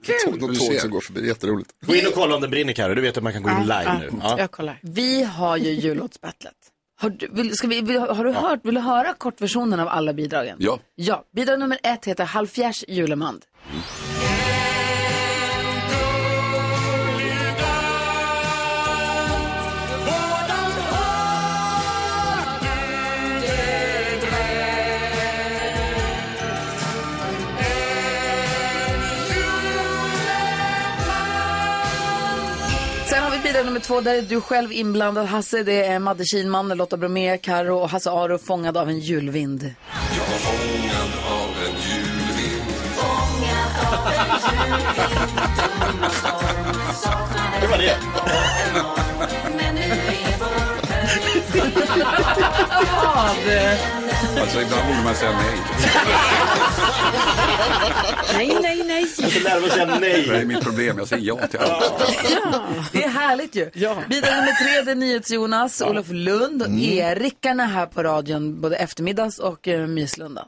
Speaker 4: Kul! Något tåg som går förbi, jätteroligt.
Speaker 3: Gå in och kolla om den brinner Carro. Du vet att man kan gå in live
Speaker 1: ja.
Speaker 3: nu. Ja.
Speaker 7: kollar.
Speaker 1: Vi har ju jullåtsbattlet. Har du, vill, ska vi, vill, har du hört, vill du höra kortversionen av alla bidragen?
Speaker 11: Ja.
Speaker 1: Ja, bidrag nummer ett heter Halvfjärs julemand. Sen har vi bidrag nummer två, där är du själv inblandad Hasse. Det är Madde Kihlman, Lotta Bromé, Karo och Hasse Aro fångad av en julvind.
Speaker 8: Jag var fångad av en julvind.
Speaker 3: Det var det.
Speaker 11: Alltså ibland borde man säga nej.
Speaker 7: Nej, nej, nej.
Speaker 3: Jag ska lära mig att säga nej.
Speaker 11: Det är mitt problem, jag säger ja till allt.
Speaker 1: Det är härligt ju. Bidrag nummer tre, det är NyhetsJonas, Olof Lund och Erikan är här på radion både eftermiddags och eh, Myslunda.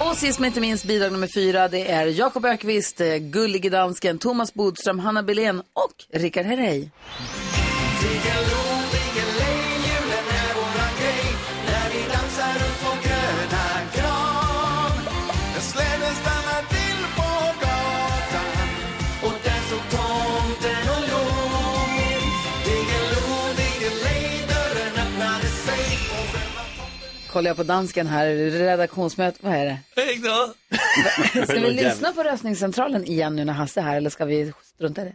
Speaker 1: Och sist men inte minst bidrag nummer fyra, det är Jakob Ökvist, eh, Gullige Dansken, Thomas Bodström, Hanna Belén och Rickard Herrey.
Speaker 8: Julen är våran grej när vi dansar runt vår gröna
Speaker 1: kollar jag på dansken här, redaktionsmöte, vad är det? Ska vi lyssna på röstningscentralen igen nu när Hasse är här eller ska vi strunta i det?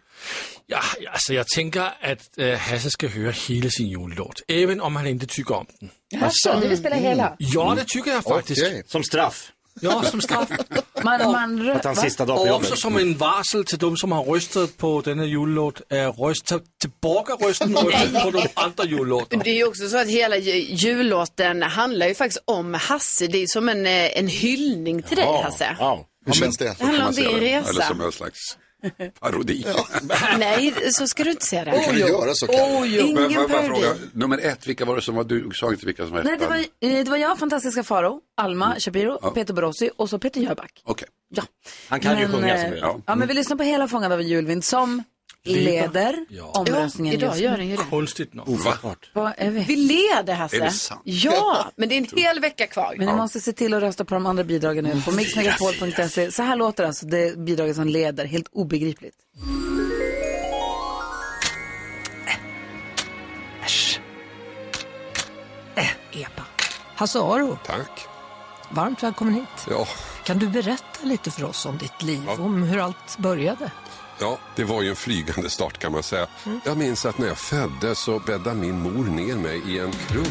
Speaker 5: Ja, altså jeg tænker, at øh, Hasse skal høre hele sin julelåt, even om han ikke tykker om den.
Speaker 1: Jaså, du vill spela hela?
Speaker 5: Ja, det tycker jag faktiskt.
Speaker 3: Som straff.
Speaker 5: Mm. Ja, som straff.
Speaker 1: Man, man, rö- va?
Speaker 5: Og også som en varsel til dem, som har rystet på denne julelåt, er ryst til, til borgerrysten rystet på de andre julelåter.
Speaker 13: Det är ju också så att hela ju- jullåten handlar ju faktiskt om Hasse. Det är ju som en, eh, en hyllning till dig Hasse.
Speaker 11: Hur känns det?
Speaker 13: Det handlar om din resa.
Speaker 11: Eller som en slags parodi.
Speaker 13: Nej, så ska du inte säga det.
Speaker 11: Kan du göra så Kalle?
Speaker 13: Ingen
Speaker 11: Men får jag bara
Speaker 13: parodi.
Speaker 11: fråga, nummer ett, vilka var det som var du? Du sa inte vilka som var
Speaker 1: Nej, det
Speaker 11: ettan.
Speaker 1: var, eh, det var jag, fantastiska Faro, Alma Shapiro,
Speaker 11: Ja.
Speaker 1: Peter Borossi och så Peter Jöback.
Speaker 11: Okej.
Speaker 1: Ja.
Speaker 3: Han kan ju sjunga som
Speaker 1: eh,
Speaker 3: vi gör.
Speaker 1: ja. men vi lyssnar på hela Fångad av en julvind som leder omröstningen
Speaker 13: idag
Speaker 1: just
Speaker 13: gör
Speaker 1: nu.
Speaker 13: den ju det.
Speaker 5: Konstigt nog.
Speaker 1: Vad är vi?
Speaker 13: Vi leder Hasse.
Speaker 1: Är det sant?
Speaker 13: Ja, men det är en hel vecka kvar.
Speaker 1: Men ni måste se till att rösta på de andra bidragen nu på
Speaker 15: Mm,
Speaker 1: mixmegapol.se. Så här låter alltså det bidraget som leder, helt obegripligt.
Speaker 15: Äh. Epa. Äh. Hasse Aro.
Speaker 11: Tack.
Speaker 15: Varmt välkommen hit.
Speaker 16: Ja,
Speaker 15: Kan du berätta lite för oss om ditt liv,
Speaker 16: Ja.
Speaker 15: om hur allt började?
Speaker 16: ja, det var ju en flygande start kan man säga. Jag minns att när jag föddes så bäddade min mor ner mig i en krubba.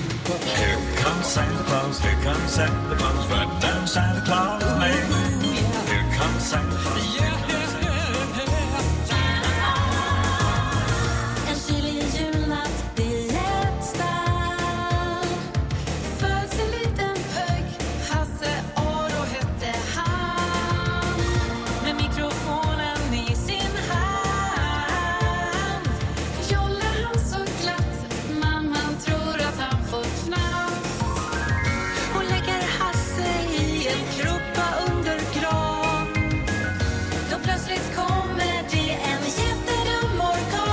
Speaker 17: Hon lägger Hasse i en krubba under gran då plötsligt kommer det en jättedum orkan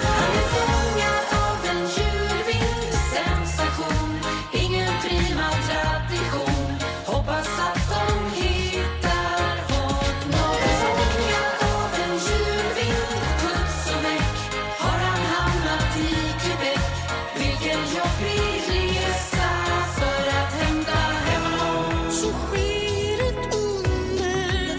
Speaker 17: Han är fångad av en julvind Sensation, ingen prima tradition Hoppas att de hittar honom Fångad av en julvind Puts och väck har han hamnat i Quebec Vilken jobbig resa för att hämta hem honom Så sker ett under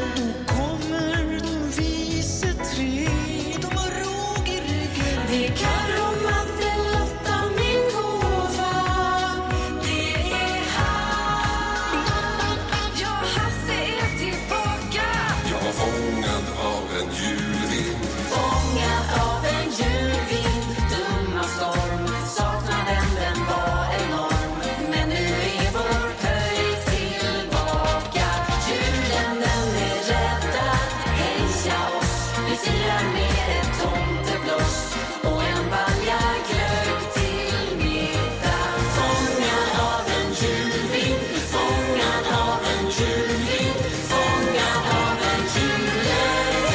Speaker 17: då kommer de vise tre och de har råg i ryggen Det är Carro, Madde, Lotta, min gåva Det är han Ja, Hasse är tillbaka
Speaker 8: Jag var fångad av en julvind
Speaker 17: Fångad av en julvind Dumma storm Saknaden, den var enorm Men nu är vår höjd tillbaka Julen, den är räddad Heja oss Vi firar med ett tomteblås Och en balja glögg till middag Fångad av en julvind Fångad av en julvind Fångad av en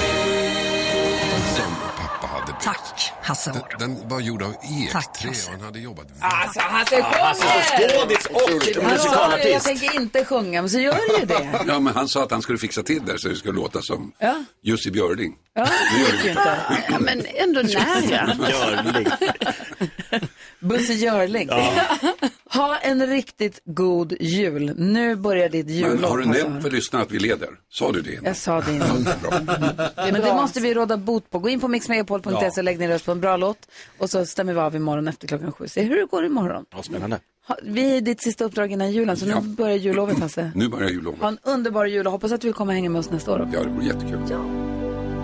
Speaker 17: julvind
Speaker 16: Som pappa hade byggt. Tack, Hasse Aro. Den, den var gjord av ekträ och han hade jobbat
Speaker 1: Ah,
Speaker 17: Alltså,
Speaker 1: Hasse sjunger! Han sa ju, jag tänker inte sjunga, men så gör ju det.
Speaker 11: Ja, men han sa att han skulle fixa till det så det skulle låta som
Speaker 1: Ja.
Speaker 11: Jussi Björling.
Speaker 1: Ja, det gick ju inte.
Speaker 7: Ja, men ändå nära.
Speaker 11: Björling.
Speaker 1: Bosse Görling. Ha en riktigt god jul. Nu börjar ditt
Speaker 11: Men
Speaker 1: jullov.
Speaker 11: har du
Speaker 1: Hasse.
Speaker 11: nämnt för lyssnarna att vi leder? Sa du det? innan?
Speaker 1: Jag sa det innan. Men det måste vi råda bot på. Gå in på mixmegapol.se och lägg ner röst på en bra låt. Och så stämmer vi av imorgon efter klockan sju. Se hur det går imorgon.
Speaker 3: Ja, spännande.
Speaker 1: Ha, vi är ditt sista uppdrag innan julen, så nu börjar jullovet Hasse.
Speaker 18: Mm.
Speaker 11: Nu börjar jullovet.
Speaker 1: Ha en underbar jul och hoppas att du kommer hänga med oss nästa år också.
Speaker 11: Ja, det vore jättekul.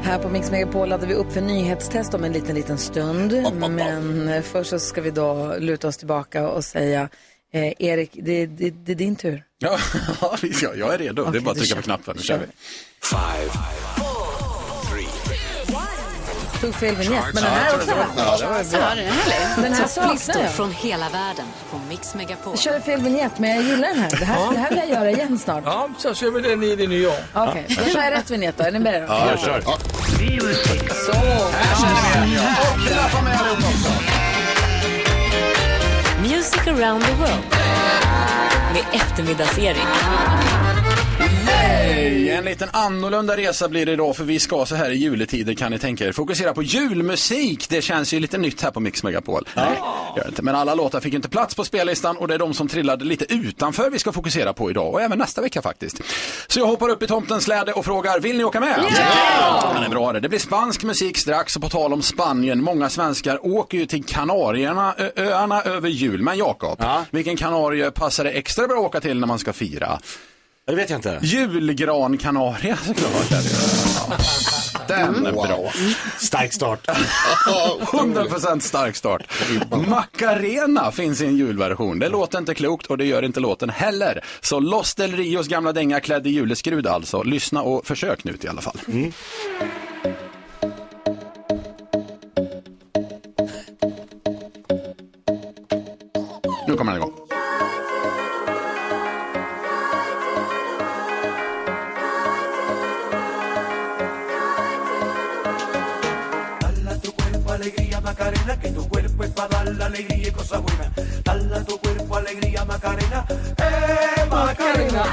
Speaker 1: Här på Mix Megapol laddar vi upp för nyhetstest om en liten, liten stund. Men eh, först så ska vi då luta oss tillbaka och säga eh, Erik, det, det, det är din tur.
Speaker 18: Ja, ja, jag är redo. det är bara att trycka på knappen. Nu kör vi. Five,
Speaker 1: Tog fel vignett, men den här också va?
Speaker 18: Ja, det Alltså, var bra.
Speaker 1: Den här saknar
Speaker 2: Topplistor
Speaker 1: jag.
Speaker 2: från hela världen på Mix Megapol.
Speaker 1: Jag körde fel vignett, men jag gillar den här. Det här, det här vill jag göra igen snart.
Speaker 5: Ja, så kör vi den i det nya år.
Speaker 1: Okej, då kör jag rätt vignett då. Är ni med? då?
Speaker 5: Ja, kör.
Speaker 1: Så. Här
Speaker 18: känner vi
Speaker 2: Music around the world med eftermiddags-Erik.
Speaker 18: Nej! En liten annorlunda resa blir det idag för vi ska så här i juletider kan ni tänka er fokusera på julmusik. Det känns ju lite nytt här på Mix Megapol. Nej, gör det inte. Men alla låtar fick ju inte plats på spellistan och det är de som trillade lite utanför vi ska fokusera på idag och även nästa vecka faktiskt. Så jag hoppar upp i tomtens släde och frågar, vill ni åka med? Ja! Den är bra det. Det blir spansk musik strax och på tal om Spanien, många svenskar åker ju till Kanarierna, ö- öarna över jul. Men Jakob, vilken kanarie passar det extra bra att åka till när man ska fira?
Speaker 3: Det vet jag inte.
Speaker 18: Julgrankanarie såklart. är det. Ja. Den är bra.
Speaker 3: Stark start.
Speaker 18: 100% stark start. Macarena finns i en julversion. Det låter inte klokt och det gör inte låten heller. Så Los del Rios gamla dänga klädd i juleskrud alltså. Lyssna och försök nu i alla fall. Nu kommer den igång.
Speaker 17: alegría Macarena, que tu cuerpo es para dar la alegría y cosas buenas. Dale a tu cuerpo alegría Macarena, eh Macarena.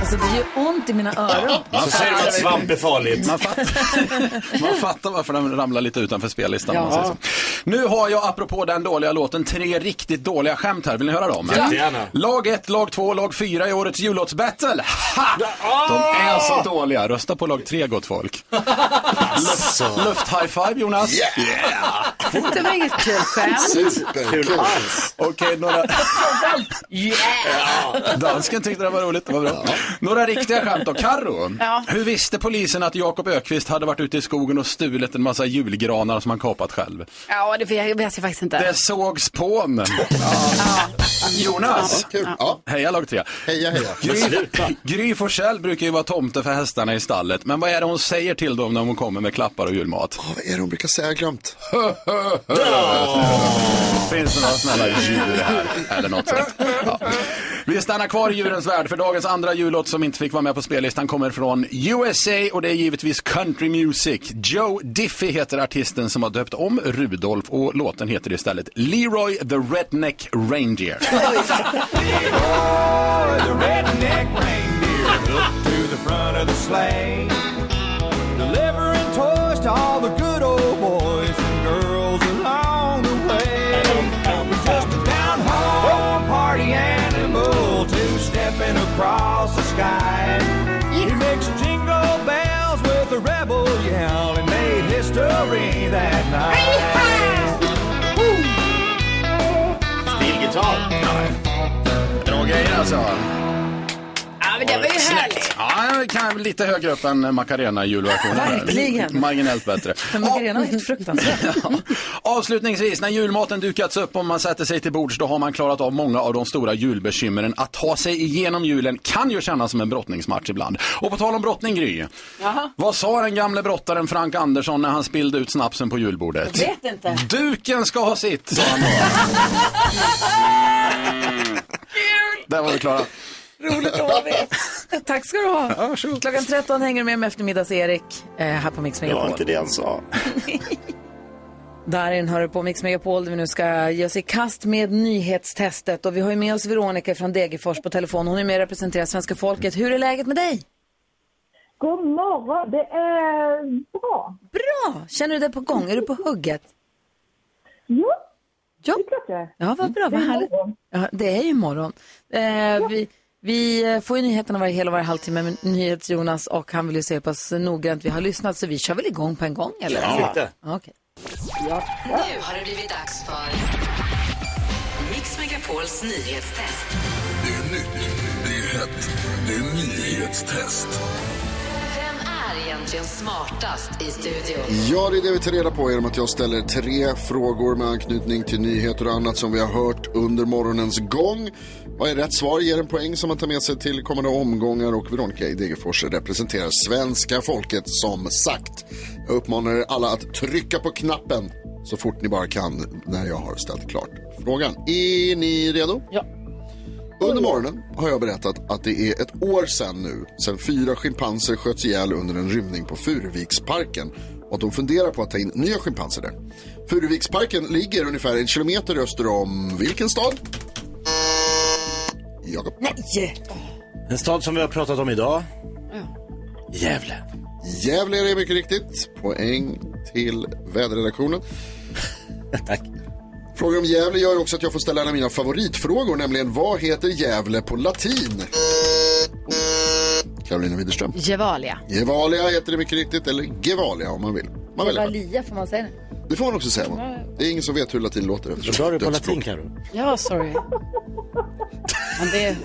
Speaker 1: Alltså, det gör ont i mina öron.
Speaker 3: Så säger de att svamp är farligt.
Speaker 18: Man fattar, man fattar varför den ramlar lite utanför spellistan. om man
Speaker 3: Ja.
Speaker 18: säger så. Nu har jag, apropå den dåliga låten, tre riktigt dåliga skämt här. Vill ni höra dem?
Speaker 3: Jättegärna.
Speaker 18: Lag 1, lag 2, lag 4 i årets jullåtsbattle. Ha! De är så dåliga. Rösta på lag 3, gott folk. Luft, luft high five, Jonas.
Speaker 1: Det var inget kul skämt.
Speaker 18: Superkul. Okej, några... Dansken tyckte det var roligt, det var bra. Några riktiga skämt då. Carro,
Speaker 7: Ja.
Speaker 18: hur visste polisen att Jakob Ökvist hade varit ute i skogen och stulit en massa julgranar som han kapat själv?
Speaker 7: Ja, det vet jag vet jag faktiskt inte.
Speaker 18: Det sågs på honom. Jonas! Heja lag 3.
Speaker 4: Heja, heja.
Speaker 18: Gry, Gry Forssell brukar ju vara tomte för hästarna i stallet, men vad är det hon säger till dem när hon kommer med klappar och julmat?
Speaker 4: Vad är det hon brukar säga? Jag har glömt.
Speaker 18: Finns det några snälla djur här? Eller något sånt. Ja. Vi stannar kvar i djurens värld för dagens andra jullåt som inte fick vara med på spellistan kommer från USA och det är givetvis country music. Joe Diffie heter artisten som har döpt om Rudolf och låten heter istället Leroy the Redneck Reindeer.
Speaker 17: The redneck reindeer looked to the front of the sleigh, delivering toys to all the good old boys and girls along the way. We're just a down home party animal, two stepping across the sky. He mixed jingle bells with a rebel yell and made history that night.
Speaker 3: Stilgitarr.
Speaker 18: Bra grejer alltså.
Speaker 7: Ja, men det var ju härligt.
Speaker 18: Ja, kan lite högre upp än Macarena i julversionen.
Speaker 1: Verkligen.
Speaker 18: Marginellt bättre.
Speaker 1: Men Macarena var helt fruktansvärt.
Speaker 18: Avslutningsvis, när julmaten dukats upp och man sätter sig till bords, då har man klarat av många av de stora julbekymren. Att ta sig igenom julen kan ju kännas som en brottningsmatch ibland. Och på tal om brottning, Gry.
Speaker 1: Jaha.
Speaker 18: Vad sa den gamle brottaren Frank Andersson när han spillde ut snapsen på julbordet?
Speaker 1: Vet inte.
Speaker 18: Duken ska ha sitt, sa han då. Där var vi klara.
Speaker 1: Roligt att ha det. Tack ska du ha. Klockan 13 hänger du med med eftermiddags-Erik eh, här på Mix
Speaker 3: Det var
Speaker 1: Megapol.
Speaker 3: inte det han sa.
Speaker 1: Darin hör du på Mix Megapol där vi nu ska ge oss i kast med nyhetstestet. Och vi har ju med oss Veronica från Degerfors på telefon. Hon är med och representerar svenska folket. Hur är läget med dig?
Speaker 19: God morgon, det är bra.
Speaker 1: Bra! Känner du dig på gång? Är du på hugget?
Speaker 19: Ja,
Speaker 1: ja.
Speaker 19: det är klart jag är.
Speaker 1: Ja, vad bra.
Speaker 19: Det
Speaker 1: Vad
Speaker 19: är
Speaker 1: härligt.
Speaker 19: morgon.
Speaker 1: Ja, det är ju morgon. Eh, vi, vi eh, får ju nyheterna varje hel och varje halvtimme med NyhetsJonas och han vill ju se hur pass noggrant vi har lyssnat så vi kör väl igång på en gång eller?
Speaker 15: Ja.
Speaker 1: Okej.
Speaker 15: Nu har det blivit dags för Mix Megapols nyhetstest.
Speaker 20: Det är nytt, det är hett, det är nyhetstest.
Speaker 15: Vem är egentligen smartast i studion?
Speaker 4: Ja, det är det vi tar reda på genom att jag ställer tre frågor med anknytning till nyheter och annat som vi har hört under morgonens gång. Vad är rätt svar ger en poäng som man tar med sig till kommande omgångar och Veronica i Degerfors representerar svenska folket som sagt. Jag uppmanar er alla att trycka på knappen så fort ni bara kan när jag har ställt klart frågan. Är ni redo?
Speaker 1: Ja.
Speaker 4: Under morgonen har jag berättat att det är ett år sedan nu sedan fyra schimpanser sköts ihjäl under en rymning på Furuviksparken och att de funderar på att ta in nya schimpanser där. Furuviksparken ligger ungefär en kilometer öster om vilken stad? Jakob.
Speaker 1: Nej!
Speaker 3: En stad som vi har pratat om idag. Gävle.
Speaker 4: Gävle är det mycket riktigt. Poäng till väderredaktionen.
Speaker 3: Tack.
Speaker 4: Frågor om Gävle gör ju också att jag får ställa en av mina favoritfrågor, nämligen vad heter Gävle på latin? Carolina Widerström.
Speaker 13: Gevalia.
Speaker 4: Gevalia heter det mycket riktigt, eller Gevalia om man vill. Man väljer. själv.
Speaker 1: Gevalia får man säga det.
Speaker 4: Det får man också säga. Va? Det är ingen som vet hur latin låter. eftersom
Speaker 3: Vad bra du är på
Speaker 4: dödsspråk.
Speaker 3: latin, Carro.
Speaker 7: Ja, sorry. Men det...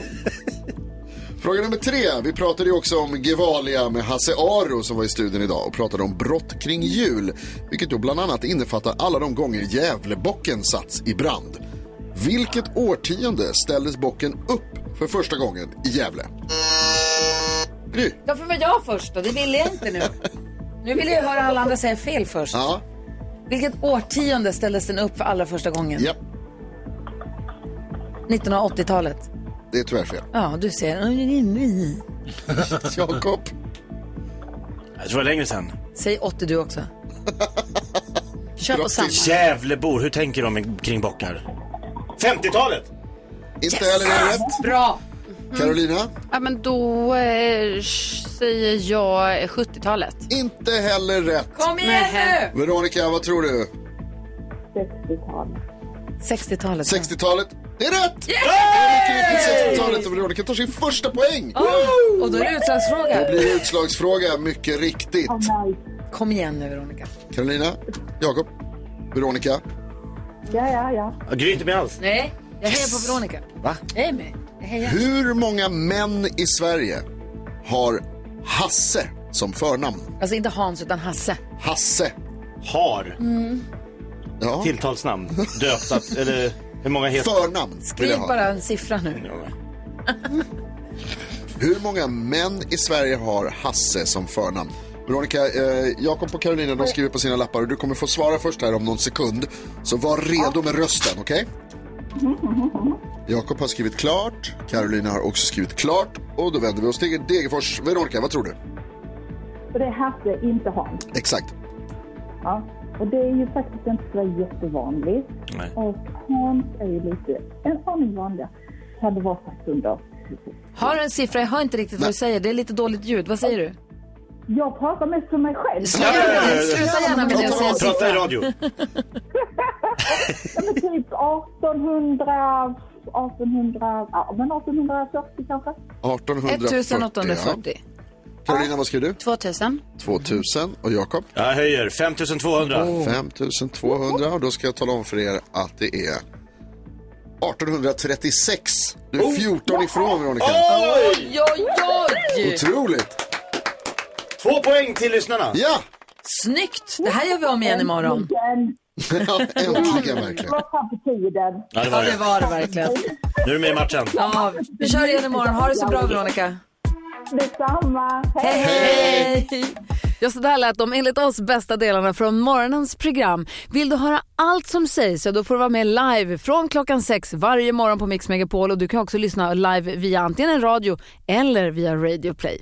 Speaker 4: Fråga nummer tre. Vi pratade ju också om Gevalia med Hasse Aro som var i studion idag och pratade om brott kring jul. Vilket då bland annat innefattar alla de gånger Gävlebocken satts i brand. Vilket årtionde ställdes bocken upp för första gången i Gävle? Gry?
Speaker 1: Varför var jag först då? Det ville jag inte nu. Nu vill jag höra alla andra säga fel först.
Speaker 4: Ja.
Speaker 1: Vilket årtionde ställdes den upp för allra första gången?
Speaker 4: Japp.
Speaker 1: 1980-talet.
Speaker 4: Det är tyvärr fel.
Speaker 1: Ja, du ser.
Speaker 4: Jakob?
Speaker 3: Jag tror det var längre sedan.
Speaker 1: Säg 80 du också. Kör på samma.
Speaker 3: Gävlebor, hur tänker de kring bockar? 50-talet!
Speaker 4: Inte heller det rätt.
Speaker 1: Bra! Mm.
Speaker 4: Carolina?
Speaker 13: Ja, men då eh, säger jag 70-talet.
Speaker 4: Inte heller rätt.
Speaker 1: Kom igen nu!
Speaker 4: Veronica, vad tror du?
Speaker 19: 60-tal.
Speaker 1: 60-talet.
Speaker 4: 60-talet. Det är rätt! Det är mycket riktigt 60-talet och Veronica tar sin första poäng.
Speaker 1: Och då är det utslagsfråga.
Speaker 4: Det blir utslagsfråga, mycket riktigt.
Speaker 1: Kom igen nu Veronica.
Speaker 4: Carolina, Jakob, Veronica.
Speaker 19: Ja, ja, ja.
Speaker 3: Gry inte med alls.
Speaker 1: Nej, jag hejar på Veronica.
Speaker 4: Va?
Speaker 1: Jag är med. Jag hejar.
Speaker 4: Hur många män i Sverige har Hasse som förnamn?
Speaker 1: Alltså inte Hans utan Hasse.
Speaker 4: Hasse.
Speaker 3: Har.
Speaker 1: Mm.
Speaker 4: Ja.
Speaker 3: Tilltalsnamn. Döptat, eller hur många heter...
Speaker 4: Förnamn vill jag
Speaker 1: Skriv
Speaker 4: ha.
Speaker 1: bara en siffra nu.
Speaker 4: Hur många män i Sverige har Hasse som förnamn? Veronica, eh, Jakob och Carolina de skriver på sina lappar och du kommer få svara först här om någon sekund. Så var redo med rösten, okej? Jakob har skrivit klart, Carolina har också skrivit klart och då vänder vi oss till Degerfors. Veronica, vad tror du?
Speaker 19: Och det är Hasse, inte Hans.
Speaker 4: Exakt.
Speaker 19: Ja. Och det är ju faktiskt inte så jättevanligt.
Speaker 3: Nej.
Speaker 19: Och Hans är ju lite, en aning vanligare. Kan det vara sagt under.
Speaker 1: Har du en siffra? Jag hör inte riktigt vad du säger. Det är lite dåligt ljud. Vad säger du?
Speaker 19: Jag pratar mest för mig själv.
Speaker 1: Sluta gärna, sluta gärna med det och säg en
Speaker 3: Prata i
Speaker 1: siffra.
Speaker 3: radio.
Speaker 19: Ja, men typ 1800, 1800, ja men 1840 kanske.
Speaker 4: 1840.
Speaker 1: 1840.
Speaker 4: Ja. Carolina, vad skriver du?
Speaker 13: 2000.
Speaker 4: 2000 och Jakob?
Speaker 3: Jag höjer. 5200.
Speaker 1: Oh.
Speaker 4: 5200 och då ska jag tala om för er att det är 1836. Du är 14 ifrån Veronica.
Speaker 1: Oj, oj, oj!
Speaker 4: Otroligt!
Speaker 3: Två poäng till lyssnarna.
Speaker 4: Ja!
Speaker 1: Snyggt! Det här gör vi om igen imorgon.
Speaker 19: Den
Speaker 4: Äntligen verkligen.
Speaker 19: var fram på tiden.
Speaker 3: Ja, det
Speaker 1: Ja,
Speaker 3: var
Speaker 1: det
Speaker 3: det.
Speaker 1: var det verkligen.
Speaker 3: Nu är du med i matchen.
Speaker 1: Ja, vi kör igen imorgon. Ha det så bra, Veronica.
Speaker 19: Detsamma.
Speaker 1: Hej, hej! Ja, så där lät de enligt oss bästa delarna från morgonens program. Vill du höra allt som sägs så då får du vara med live från klockan sex varje morgon på Mix Megapol och du kan också lyssna live via antingen en radio eller via Radio Play.